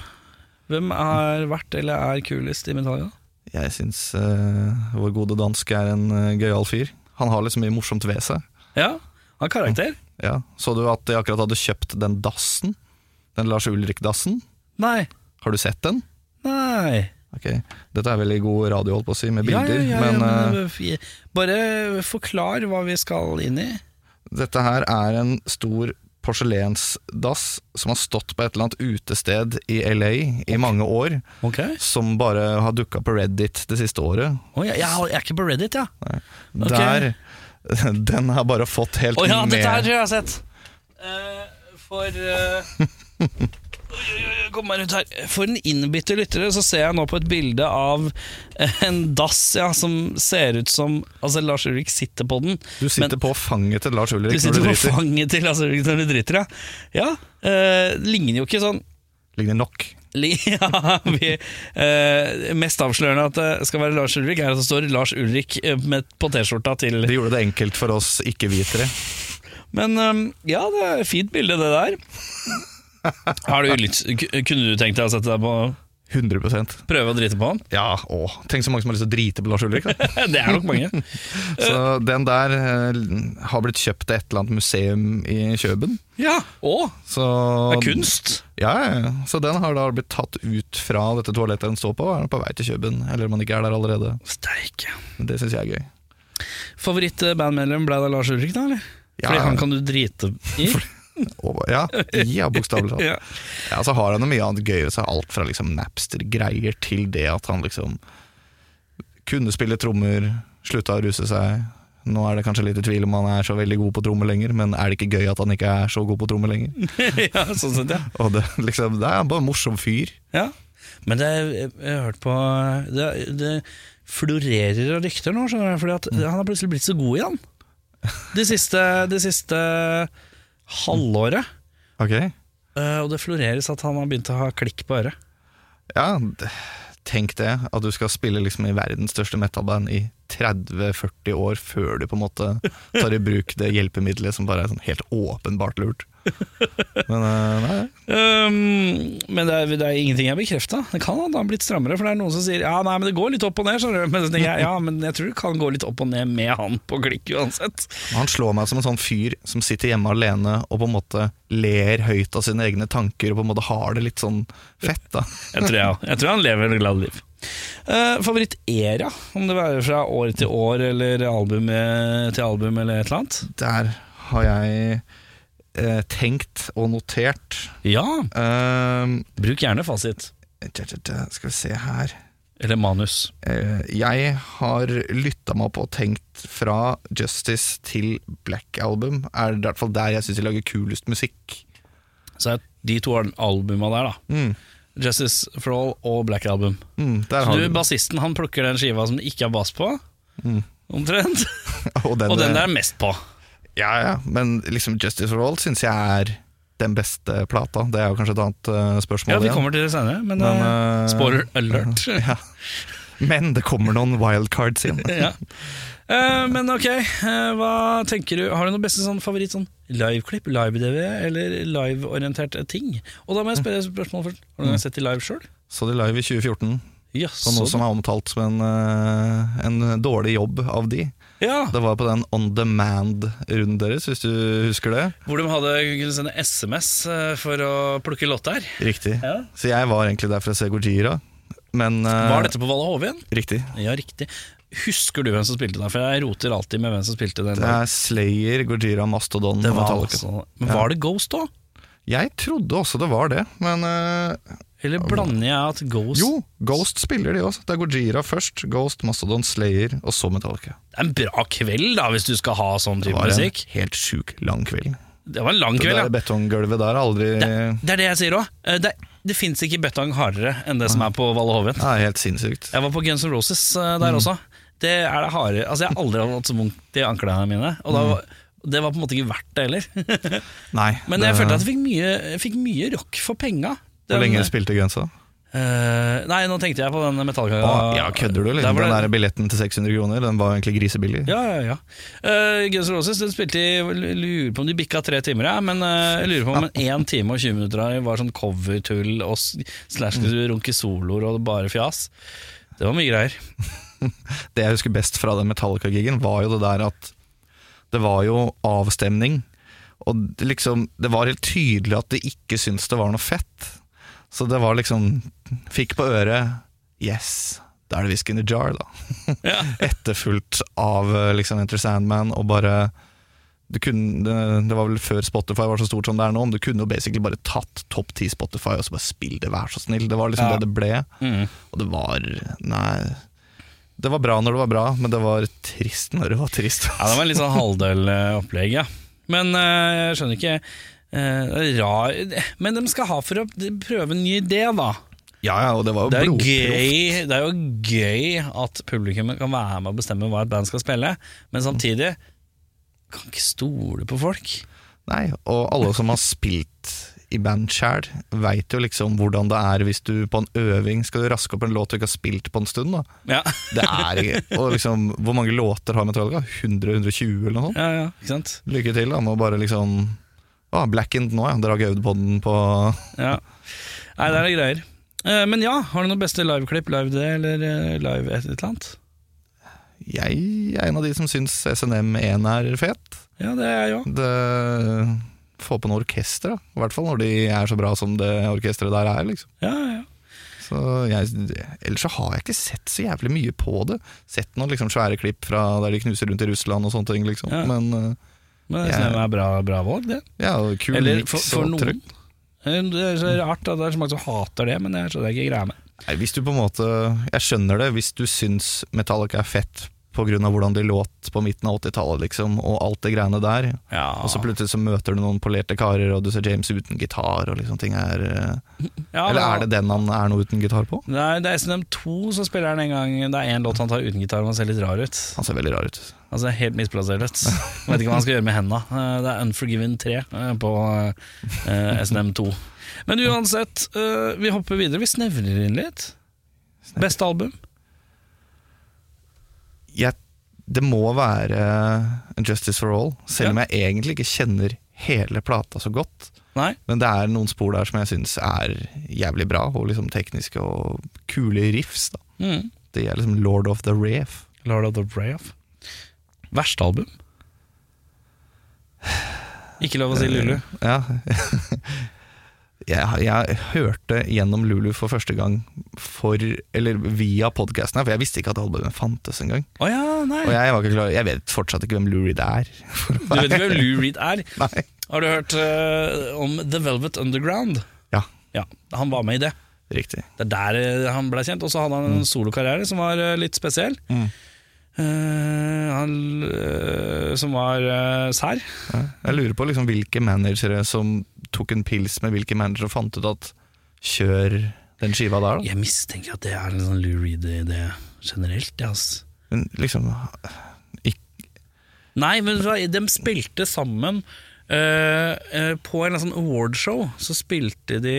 Hvem har vært eller er kulest i Metallica? Jeg syns eh, vår gode danske er en eh, gøyal fyr. Han har liksom mye morsomt ved seg. Ja, han har karakter. Ja. Så du at de akkurat hadde kjøpt den dassen? Den Lars Ulrik-dassen? Nei. Har du sett den? Nei. Ok, Dette er veldig god radio, holdt på å si, med bilder. ja, ja, ja, men ja, eh, men eh, Bare forklar hva vi skal inn i. eh, dette her er en stor porselensdass som har stått på et eller annet utested i LA i mange år. Ok Som bare har dukka på Reddit det siste året. jeg, jeg er ikke på Reddit, ja. Ok. Der Den har bare fått helt Å ja, dette her med tror jeg jeg har sett. Eh, for eh, oi, oi, oi, Kom meg rundt her. For en innbitte lyttere så ser jeg nå på et bilde av en dass ja, som ser ut som Altså, Lars Ulrik sitter på den. Du sitter men- på fanget til Lars Du Ulrik når sitter du på driter. fanget til Lars Ulrik når du driter, ja. ja eh, ligner jo ikke sånn Ligner nok. Li- Ja, vi, eh, mest avslørende at det skal være Lars Ulrik, er at det står Lars Ulrik eh, med, på T-skjorta til Det gjorde det enkelt for oss ikke-hvitere. Men eh, ja, det er et fint bilde, det der. Har du lyst, ku- kunne du tenkt deg å sette deg på 100 prøve å drite på han? Ja, å, Tenk så mange som har lyst til å drite på Lars Ulrik. da Det er nok mange. Så den der eh, har blitt kjøpt til et eller annet museum i Kjøben. Ja, Å, Så, det er kunst! Ja, ja, ja. så den har da blitt tatt ut fra dette toalettet den står på, og er på vei til Kjøben. Eller om den ikke er der allerede. Steike. Men Det syns jeg er gøy. Favoritt-bandmedlem ble det Lars Ulrik, da? eller? Ja, Fordi han kan du drite i. og- ja, ja bokstavelig talt. Ja. Ja, så har han jo mye annet gøy ved seg. Alt fra liksom Napster-greier til det at han liksom kunne spille trommer, slutta å ruse seg. Nå er det kanskje litt i tvil om han er så veldig god på trommer lenger, men er det ikke gøy at han ikke er så god på trommer lenger? ja, sånn sett, ja. Og det, liksom, det er bare en morsom fyr. Ja, men det, jeg har hørt på det, det florerer av rykter nå, skjønner du, fordi at han har plutselig blitt så god igjen. Det siste, det siste halvåret. Ok Eh, og det floreres at han har begynt å ha klikk på øret. Ja, d- tenk det. At du skal spille liksom i verdens største metalband i 30-40 år før du på en måte tar i bruk det hjelpemiddelet som bare er sånn helt åpenbart lurt. Men eh, nei, Um, men det er, det er ingenting jeg bekrefta. Det kan han ha blitt strammere, for det er noen som sier ja, nei, men det går litt opp og ned. skjønner du. Men så tenker jeg, ja, men jeg tror det kan gå litt opp og ned med han på klikk uansett. han slår meg som en sånn fyr som sitter hjemme alene og på en måte ler høyt av sine egne tanker og på en måte har det litt sånn fett, da. Jeg tror, jeg, jeg tror han lever et glad liv. Eh, Favoritt-era? Om det være fra år til år, eller album eh, til album, eller et eller annet? Der har jeg eh, tenkt og notert. Ja, Ehm, bruk gjerne fasit. tja, tja, tja, skal vi se her Eller manus. Eh, Jeg har lytta meg opp og tenkt fra Justice til Black Album. Er det i hvert fall der jeg syns de lager kulest musikk. Så er de to al- albuma der, da. Mm, Justice for All og Black Album. mm, der Så har du, du, bassisten han plukker den skiva som det ikke er bass på, Mm. omtrent. og den, eh, Og den der er mest på. Ja, ja, men liksom Justice for All syns jeg er den beste plata. Det er jo kanskje et annet eh, spørsmål Ja, vi igjen. kommer til det senere, men, Men, eh, eh, spoiler alert. Ja. Men det kommer noen wildcards inn. ja. Eh, men ok, eh, hva tenker du? Har du noe beste sånn favoritt sånn liveklipp, live-DV eller liveorientert ting? Og da må jeg spørre et spørsmål først. Har du noen gang sett de live sjøl? Så de live i 2014 Mm. på noe Jaså. som er omtalt som en, eh, en dårlig jobb av de. Ja, Det var på den On Demand-runden deres, hvis du husker det. hvor de hadde kunne sende SMS eh, for å plukke lotter. Riktig. Ja. Så jeg var egentlig der for å se Gojira, men eh, Var dette på Valle Hove igjen? Riktig. Ja, riktig. Husker du hvem som spilte den? For jeg roter alltid med hvem som spilte den. Det er Slayer, Gojira, Mastodon Det og var Metallica. altså- Men var det Ghost da? Jeg trodde også det var det, men eh, Eller blander jeg at Ghost Jo, Ghost spiller de også. Det er Gojira først, Ghost, Mastodon, Slayer og så Metallica. Det er en bra kveld, da, hvis du skal ha sånn Det type var en musikk. helt sjuk lang kveld. Det var en lang Det kveld, ja. der betonggulvet der har aldri Det er det jeg sier òg. Det, det fins ikke betong hardere enn det som er på Valle Hoven. Det er helt sinnssykt. Jeg var på Guns N' Roses eh, Mm. der også. Det er det harde Altså, jeg har aldri hatt så vondt i anklene mine. Og da Mm. var, det var på en måte ikke verdt det heller. Nei, Men jeg følte at jeg fikk mye, jeg fikk mye rock for penga. Hvor Den- lenge spilte Gunsa? eh, nei, nå tenkte jeg på den metallkaka. ja, kødder du? eller? Der var Den det- der billetten til 600 kroner, den var egentlig grisebillig. Ja, ja, ja. Eh, Guns N' Roses den spilte i jeg Lurer på om de bikka tre timer, ja, men eh, jeg lurer på om en 1 time og 20 minutter av det var sånn covertull og s- slash runkesoloer og bare fjas. Det var mye greier. Det jeg husker best fra den Metallica-gigen, var jo det der at det var jo avstemning. Og det liksom, det var helt tydelig at de ikke syntes det var noe fett. Så det var liksom Fikk på øret Yes, da er det whisky in the jar, da. Ja. Etterfulgt av eh, liksom Enter Sandman og bare du kunne, det- det var vel før Spotify var så stort som det er nå, men du kunne jo basically bare tatt topp ti Spotify og så bare spill det, vær så snill. Det var liksom Ja. det det ble. Mm. Og det var Nei. Det var bra når det var bra, men det var trist når det var trist. Ja, det var en litt sånn halvdøl eh, opplegg, ja. Men eh, jeg skjønner ikke eh, det er rar Men de skal ha for å prøve en ny idé, da. Ja, ja, og det var jo Det er, jo blodproff. gøy, det er jo gøy at publikum kan være med og bestemme hva et band skal spille, men samtidig kan ikke stole på folk. Nei, og alle som har spilt i band sjæl, veit jo liksom hvordan det er hvis du på en øving skal du raske opp en låt du ikke har spilt på en stund. da Ja, Det er Og liksom, hvor mange låter har Metallica? 100-120 eller noe sånt? ja, ja ikke sant? Lykke til da med å bare liksom Å, Blackened nå, ja. Dere har ikke øvd på den på Ja. Nei, det er det greier. Eh, Men ja, har du noen beste liveklipp? Live det, eller eh, live et et eller annet? Jeg er en av de som syns SNM1 er fet. Ja, det er jeg òg. det Få på noe orkester, da. I hvert fall når de er så bra som det orkesteret der er. liksom Ja, ja. så jeg, Ellers så har jeg ikke sett så jævlig mye på det. Sett noen liksom svære klipp fra der de knuser rundt i Russland og sånne ting, liksom. Ja. Men eh, Men det Ja. er sånn bra, bra valg, det. ja, og kul Eller mix for, for og noen. trøkk. Eh, Det er så rart, da. det er så mange som hater det, men det er så det er ikke greia med. Nei, Hvis du på en måte Jeg skjønner det hvis du syns Metallica er fett pga. hvordan de låt på midten av 80-tallet, liksom, og alt det greiene der. Ja. Og så plutselig så møter du noen polerte karer, og du ser James uten gitar, og liksom ting er eh, ja, Eller er det den han er noe uten gitar på? Nei, det er SNM2 som spiller den en gang. Det er én låt han tar uten gitar, og han ser litt rar ut. Han ser veldig rar ut. Altså Helt misplassert. Jeg vet ikke hva han skal gjøre med henda. Eh, Det er Unforgiven 3 eh, på eh, SNM2. Men uansett, eh, vi hopper videre. Vi snevrer inn litt. Beste album? jeg, det må være eh, Justice for All, selv om jeg egentlig ikke kjenner hele plata så godt. Nei? Men det er noen spor der som jeg syns er jævlig bra, og liksom tekniske og kule riffs. da Mm. Det er liksom Lord of the Rave. Lord of the Brave. Verste album? Ikke lov å si Lulu. Eh, Ja. Jeg, jeg hørte gjennom Lulu for første gang for, eller via podkasten, her, for jeg visste ikke at albumet fantes engang. Å ja, nei. Og jeg, var ikke klar, jeg vet fortsatt ikke hvem Lou Reed er. Du vet ikke hvem Lou Reed er? Nei. Har du hørt eh, om The Velvet Underground? Ja. Ja, Han var med i det. Riktig. Det er der eh, han ble kjent. Og så hadde han en solokarriere som var eh, litt spesiell. Mm. Eh, han, eh, som var eh, sær. Ja. Jeg lurer på liksom hvilke managere som tok en pils med hvilke managere og fant ut at kjør den skiva der, da. Jeg mistenker at det er en sånn Lou Reed-idé generelt. Ja, ass. Men liksom Nei, men vet du hva, de spilte sammen eh, eh, på en eller annen sånn awardshow. Så spilte de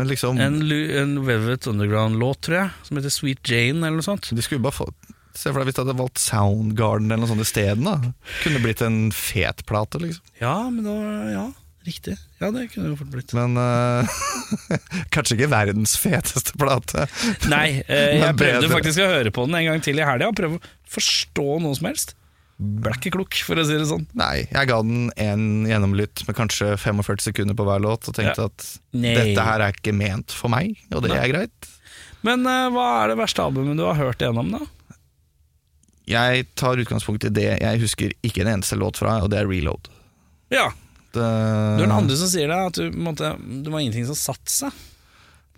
Men liksom en, Lu- en Velvet Underground-låt, tror jeg, som heter Sweet Jane eller noe sånt. De skulle bare få Se for deg hvis de hadde valgt Soundgarden eller noe sånt isteden. da. Kunne det blitt en fet plate, liksom. Ja, men da Ja, riktig. Ja, det kunne det jo fort blitt. Men eh, kanskje ikke verdens feteste plate. Nei, eh, jeg Men prøvde bedre. faktisk å høre på den en gang til i helga og prøve å forstå noe som helst. Ble ikke klok, for å si det sånn. Nei, jeg ga den én gjennomlytt med kanskje 45 sekunder på hver låt og tenkte at Nei. dette her er ikke ment for meg, og det er greit. Men eh, hva er det verste albumet du har hørt igjennom, da? Jeg tar utgangspunkt i det jeg husker ikke en eneste låt fra, og det er Reload. Ja, Det, Du er den andre som sier det, at du, på en måte, det var ingenting som satte seg.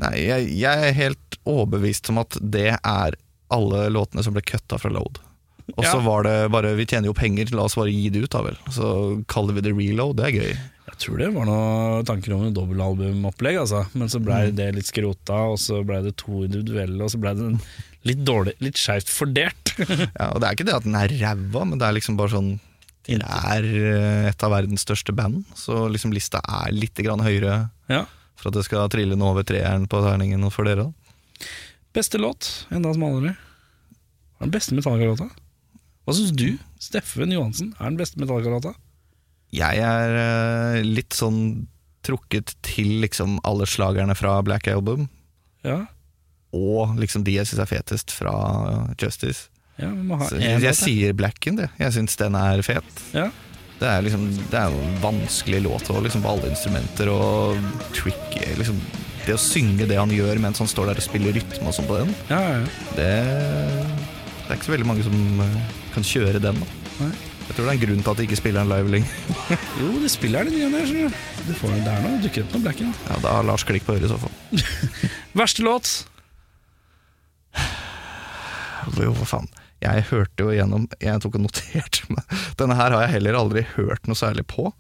Nei, jeg, jeg er helt overbevist om at det er alle låtene som ble kutta fra Load. Og så Ja. var det bare Vi tjener jo penger, la oss bare gi det ut, da vel. Så kaller vi det reload, det er gøy. Jeg tror det var noen tanker om en dobbeltalbumopplegg, altså. men så blei det litt skrota, og så blei det to individuelle, og så blei det en litt dårlig, litt skeivt fordelt. Ja, og det er ikke det at den er ræva, men det er liksom bare sånn Det er eh, et av verdens største band, så liksom lista er litt grann høyere ja. for at det skal trille noe over treeren på terningen for dere, da. Beste låt, enda smalere. Hva er den beste Metallica-låta? Hva syns du? Steffen Johansen er den beste Metallica-låta? Jeg er eh, litt sånn trukket til liksom alle slagerne fra Black Album, Ja. og liksom de jeg syns er fetest fra Justice. ja, vi må ha Så en Jeg, jeg låt. ja. sier Blacken, det. Jeg syns den er fet. Ja. Det er, liksom, det er jo en vanskelig låt og liksom på alle instrumenter og trick liksom, Det å synge det han gjør mens han står der og spiller rytme og sånn på den, Ja, ja, ja. det, det er ikke så veldig mange som eh, kan kjøre den. Da. Nei. Jeg tror det er en grunn til at de ikke spiller den live lenger. Jo, de spiller den i ny og ne, skjønner du. Du får den der nå, dukker opp noe Blacken. Ja, da har Lars klikk på øret i så fall. Verste låt? Jo, hva faen. Jeg hørte jo igjennom Jeg tok og noterte meg. Denne her har jeg heller aldri hørt noe særlig på,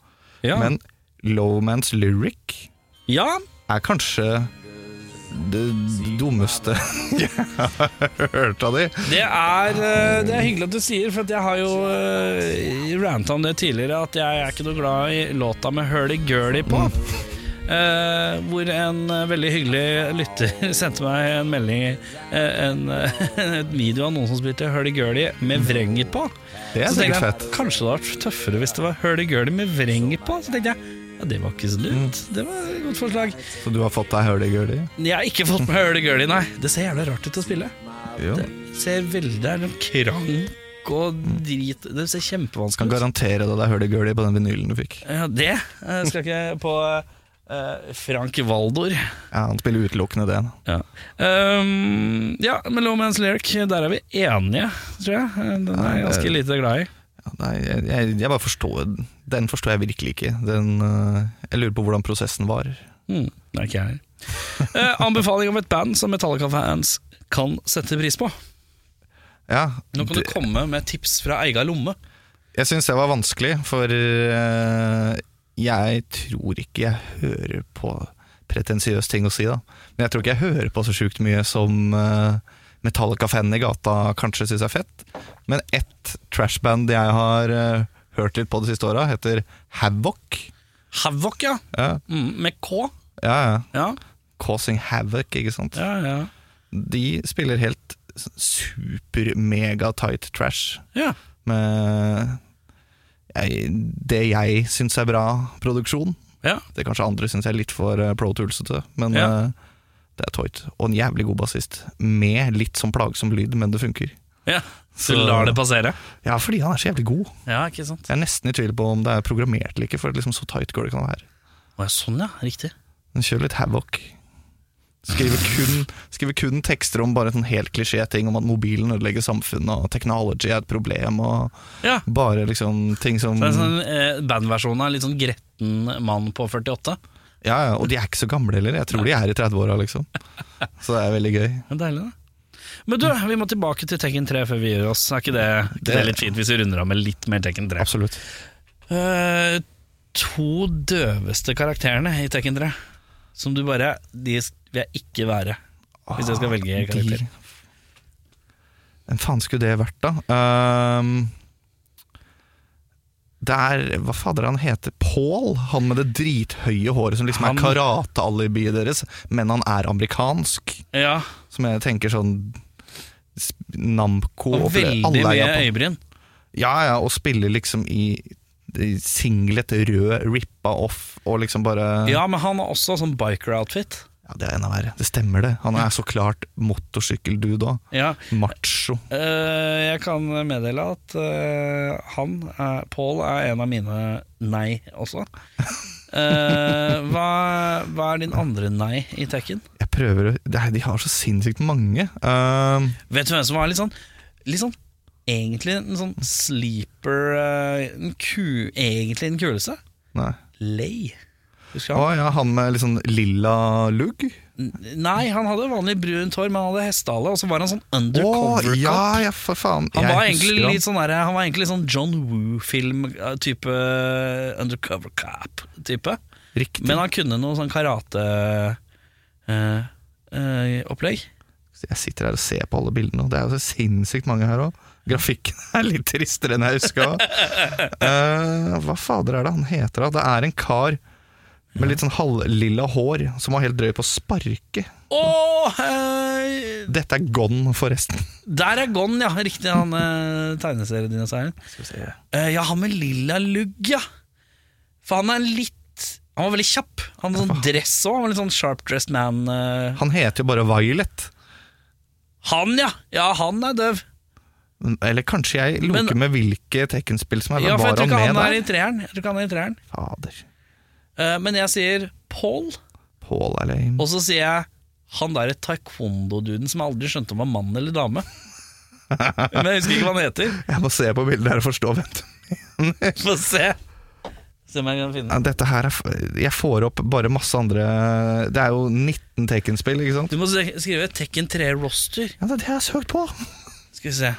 Ja. men Lowman's Lyric ja, er kanskje det dummeste jeg har hørt av de. Det er, eh, det er hyggelig at du sier, for at jeg har jo uh, ranta om det tidligere, at jeg er ikke noe glad i låta med hurly-gurly på. Mm. Eh, hvor en eh, veldig hyggelig lytter sendte meg en melding eh, en, et video av noen som spilte hurly-gurly med vrenger på. Det er Så sikkert tenkte jeg, fett. Kanskje det hadde vært tøffere hvis det var hurly-gurly med vrenger på. Så tenkte jeg ja, det var ikke så lurt. Mm. Det var et godt forslag. Så du har fått deg hurdy-gurdy? Jeg har ikke fått med hurly-gurly, nei. Det ser jævla rart ut å spille Jo. ser veldig Det er noen krank og drit Det ser Kan kjempevanskelig ut. garantere deg det er hurdy-gurdy på den vinylen du fikk. Ja, det eh, skal ikke på eh, Frank Valdor. Ja, Han spiller utelukkende det. da. Ja. Um, ja, men Low Man's Lyric, der er vi enige, tror jeg. Eh, Den er jeg ganske lite glad i. Ja, nei, jeg, jeg, jeg bare forstår Den forstår jeg virkelig ikke. Den, øh, jeg lurer på hvordan prosessen var. Hmm, det er ikke jeg her. Eh, anbefaling om et band som Metallica-fans kan sette pris på. Ja, Nå kan du det- komme med tips fra eiga lomme. Jeg syns det var vanskelig, for eh, jeg tror ikke jeg hører på pretensiøse ting å si, da. Men jeg tror ikke jeg hører på så sjukt mye som eh, Metallica-fan i gata kanskje syns er fett. Men ett trashband jeg har eh, hørt litt på de siste åra, heter Havoc. Havoc, ja. Ja, Mm, med K. ja, ja. Ja, Causing Havoc, ikke sant. ja. ja. De spiller helt super-mega-tight trash. ja. med jeg, det jeg syns er bra produksjon. Ja. Det kanskje andre syns er litt for eh, pro toolsete, men Ja. eh, det er tøyt. Og en jævlig god bassist, med litt sånn plagsom lyd, men det funker. ja. Så Så- lar det passere. Ja, fordi han er så jævlig god. Ja, ikke sant. Jeg er nesten i tvil på om det er programmert eller ikke, for liksom så tight går det ikke an å være. Å, ja, sånn ja, riktig. Men kjør litt havoc. Skriver kun, skriver kun tekster om bare sånn helt klisjé-ting om at mobilen ødelegger samfunnet, og technology er et problem, og Ja, bare liksom ting som det er en sånn eh, bandversjon av litt sånn gretne liten mann på 48. Ja, ja, Og de er ikke så gamle heller. Jeg tror de er i 30-åra, liksom. Så det er veldig gøy. Det er deilig, da. Men du, vi må tilbake til Tekken 3 før vi gir oss. Er ikke det, er ikke det litt fint hvis vi runder av med litt mer Tekken 3? Absolutt. Eh, to døveste karakterene i Tekken 3, som du bare De vil jeg ikke være, hvis jeg skal velge karakter. De- Hvem faen skulle det vært, da? Ehm, det er Hva fader han heter? Paul? Han med det drithøye håret som liksom Han- er karatealibiet deres, men han er amerikansk. Ja, Som jeg tenker sånn sp- Namco og og flere- veldig alle er mye Japan- øyebryn. Ja, ja, og spiller liksom i i singlet, rød, rippa off og liksom bare Ja, men han har også sånn biker-outfit. Ja, det er enda verre. Det stemmer, det. Han er så klart motorsykkeldude òg. Ja, Macho. Eh, jeg kan meddele at eh, han, er, Paul, er en av mine nei også. Eh, hva, hva er din andre nei i Tekken? Jeg prøver å det er, De har så sinnssykt mange. Ehm, Vet du hvem som var litt sånn, litt sånn Egentlig en sånn sleeper eh, en ku, Egentlig den kuleste. nei. Lei. Husker Å han? ja, han med litt sånn lilla lugg? N- Nei, han hadde vanlig brunt hår, men han hadde hestehale, og så var han sånn Å undercover-cop. ja, ja, for faen. Han Jeg var, husker egentlig han. litt sånn der, han var egentlig sånn John Woo-film-type eh, Undercover Cap-type. Riktig. Men han kunne noe sånn eh, karate-opplegg. Jeg sitter her og ser på alle bildene, og det er jo så sinnssykt mange her òg. Grafikken er litt tristere enn jeg huska. Eh, hva fader er det han heter, da? Det er en kar med litt sånn halvlilla hår som var helt drøy på å sparke. Åh, eh, Dette er gone, forresten. der er Gon, ja. Riktig, han eh, tegneseriedinosauren. Eh, ja, han med lilla lugg, ja. For han er litt Han var veldig kjapp. Han hadde sånn dress òg. Han var litt sånn sharp-dressed man. eh. Han heter jo bare Violet. Han, ja! Ja, han er døv. Eller kanskje jeg loker med hvilke Tekken-spill som er Ja, for Var jeg tror han ikke han med er i der? treeren. Jeg tror ikke han er i treeren. Fader. Eh, men jeg sier Paul, Paul er lame. og så sier jeg han derre taekwondo-duden som jeg aldri skjønte om var mann eller dame. Men jeg husker ikke hva han heter. Jeg må se på bildet her og forstå, vent. Få se. Se om jeg kan finne Ja, den. Dette her er f Jeg får opp bare masse andre Det er jo 19 Tekken-spill, ikke sant? Du må se- skrive Tekken 3 Roster. Ja, det er det jeg har søkt på! Skal vi se.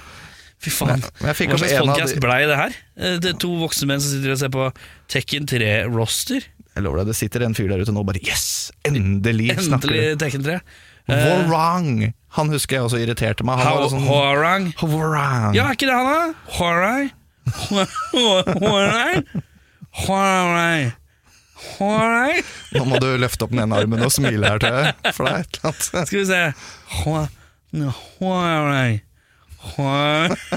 Fy faen. Men jeg fikk Hva opp slags en av podkast de blei det her? Eh, Det er to voksne menn som sitter og ser på Tekken 3 Roster. Jeg lover deg, det sitter en fyr der ute nå og bare Yes! Endelig snakker du! Endelig Tekken 3. Eh, Warang! Han husker jeg også irriterte meg. Han How- var sånn Horang. Warang! Ja, er ikke det han da? Horai? Horai? Horai? Horai? Nå må du løfte opp den ene armen og smile her til deg, for det er et eller annet. Skal vi se Ho- no, Horai Horai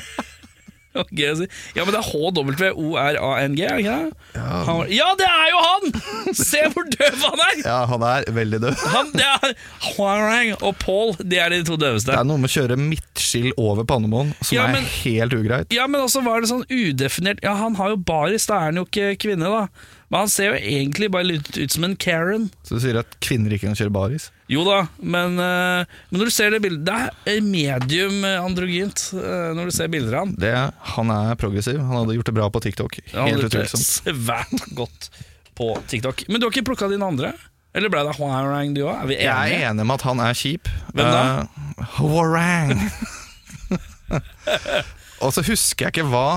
Ok, jeg sier- Ja, men det er H-W-O-R-A-N-G, er det ikke det? Ja. ja, det er jo han! Se hvor døv han er! Ja, han er veldig død. Han, det er Hoarang og Paul, de er de to Det døveste. er noe med å kjøre midtskill over Pannemoen som Ja, men- er helt ugreit. Ja, men også var det sånn udefinert Ja, han har jo baris, da er han jo ikke kvinne, da. Men han ser jo egentlig bare litt ut som en Karen. Så du sier at kvinner ikke kan kjøre baris? Jo da, men, eh, men når du ser det bildet Det er medium eh, androgynt eh, når du ser bilder av han. Det, han er progressiv. Han hadde gjort det bra på TikTok. Helt Han sånn. hadde gjort det utvilsomt. svært godt på TikTok. Men du har ikke plukka dine andre? Eller ble det Huarang du òg? Er vi Jeg enige? er enig med at han er kjip. Hvem da? Eh, Hwarang. og så husker jeg ikke hva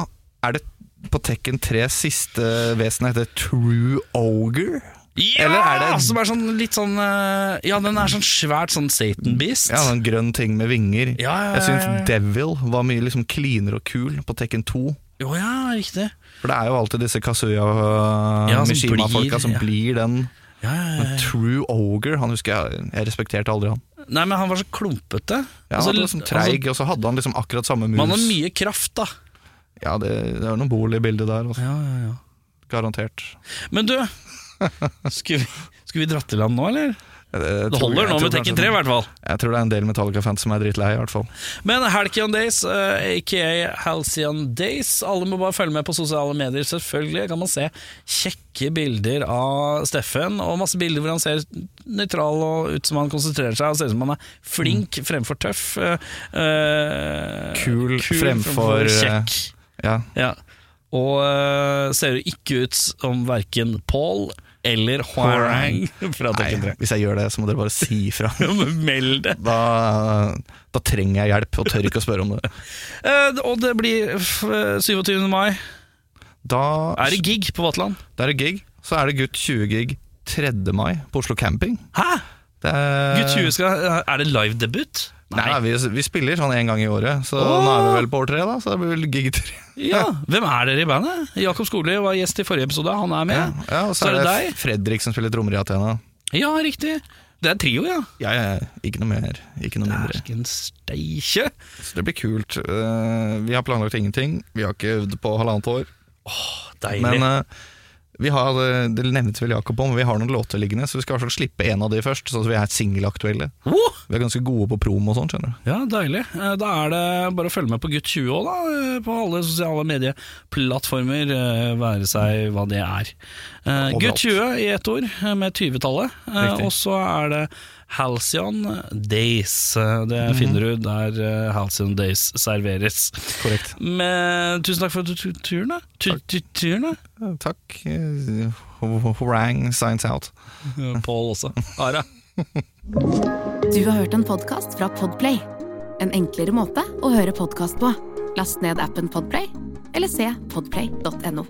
Er det på Tekken 3 siste vesenet heter True Ogre? Ja! Eller er det- Som er sånn litt sånn eh, Ja, den er sånn svært sånn Satan-beast. Ja, en grønn ting med vinger. Ja, ja, Jeg syns ja, ja. Devil var mye liksom cleanere og kul på Tekken 2. Jo, ja, riktig. For det er jo alltid disse Kazuya Ja, ja, som Mishima-folka blir, som ja. blir den. Ja, ja, ja. Men True Ogre, han husker jeg Jeg respekterte aldri han. Nei, men han var så klumpete. Ja, han Altså, var liksom treig, og så hadde han liksom akkurat samme Altså, man har mus. mye kraft, da. Ja, det, det er noen bol i bildet der, altså. Ja, ja, ja. garantert. Men du, skulle vi, skulle vi dratt til land nå, eller? Jeg- jeg Det Eh, tror- holder jeg nå tror med Tekken kanskje- 3, i hvert fall. Jeg tror det er en del Metallica-fans som er drittlei, i hvert fall. Men Halcyon Days, eh, aka Halcyon Days, alle må bare følge med på sosiale medier. Selvfølgelig kan man se kjekke bilder av Steffen, og masse bilder hvor han ser nøytral og ut som han konsentrerer seg, og ser ut som han er flink fremfor tøff. eh, eh, Mm. Kul fremfor, eh, kjekk. Ja. Ja. og eh, ser jo ikke ut som verken Paul eller Hwarang fra Tekken 3. Nei, hvis jeg gjør det, så må dere bare si ifra. Ja, men Meld det. Da, da trenger jeg hjelp, og tør ikke å spørre om det. Eh, og det blir f- eh, 27. mai. Da Er det gig på Vatland? det er det gig. Så er det Gutt 20-gig 3. mai på Oslo Camping. Hæ? Det er, Gutt 20 skal eh, Er det live-debut? Eh. Nei, vi, vi spiller sånn en gang i året, så Åh! nå er vi vel på år tre, da. Så det blir vel gig tre. Ja, Hvem er dere i bandet? Jakob Skogli var gjest i forrige episode, han er Ja. med. Ja, og så, er det, deg. Fredrik som spiller trommer i Athena. Ja, riktig. Det er trio, ja. Ja, ja, ja. ikke noe mer, ikke noe mindre. Dersken steikje. Så det blir kult. Eh, vi har planlagt ingenting. Vi har ikke øvd på halvannet år. Deilig. Men eh, vi har, eh, det- det nevnte vel Jakob om, vi har noen låter liggende, så vi skal i hvert fall slippe en av de først, sånn at vi er singelaktuelle. Wow! Vi er ganske gode på promo og sånn, skjønner du. Ja, deilig. Eh, Da er det bare å følge med på Gutt 20 òg, da. eh, På alle sosiale medieplattformer, eh, være seg hva det er. Eh, Overalt. Gutt 20 i ett ord, eh, med 20-tallet. Eh, Riktig. Og så er det Halcyon Days. Eh, Mhm. Det finner du der eh, Halcyon Days serveres. Korrekt. Men, tusen takk for tu- tu- turen, da. Tu- tu- Turen, da. Eh, Takk. Eh, ho- Horang signs out. Eh, Pål også. Ara. Du har hørt en podkast fra Podplay. En enklere måte å høre podkast på. Last ned appen Podplay, eller se podplay.no.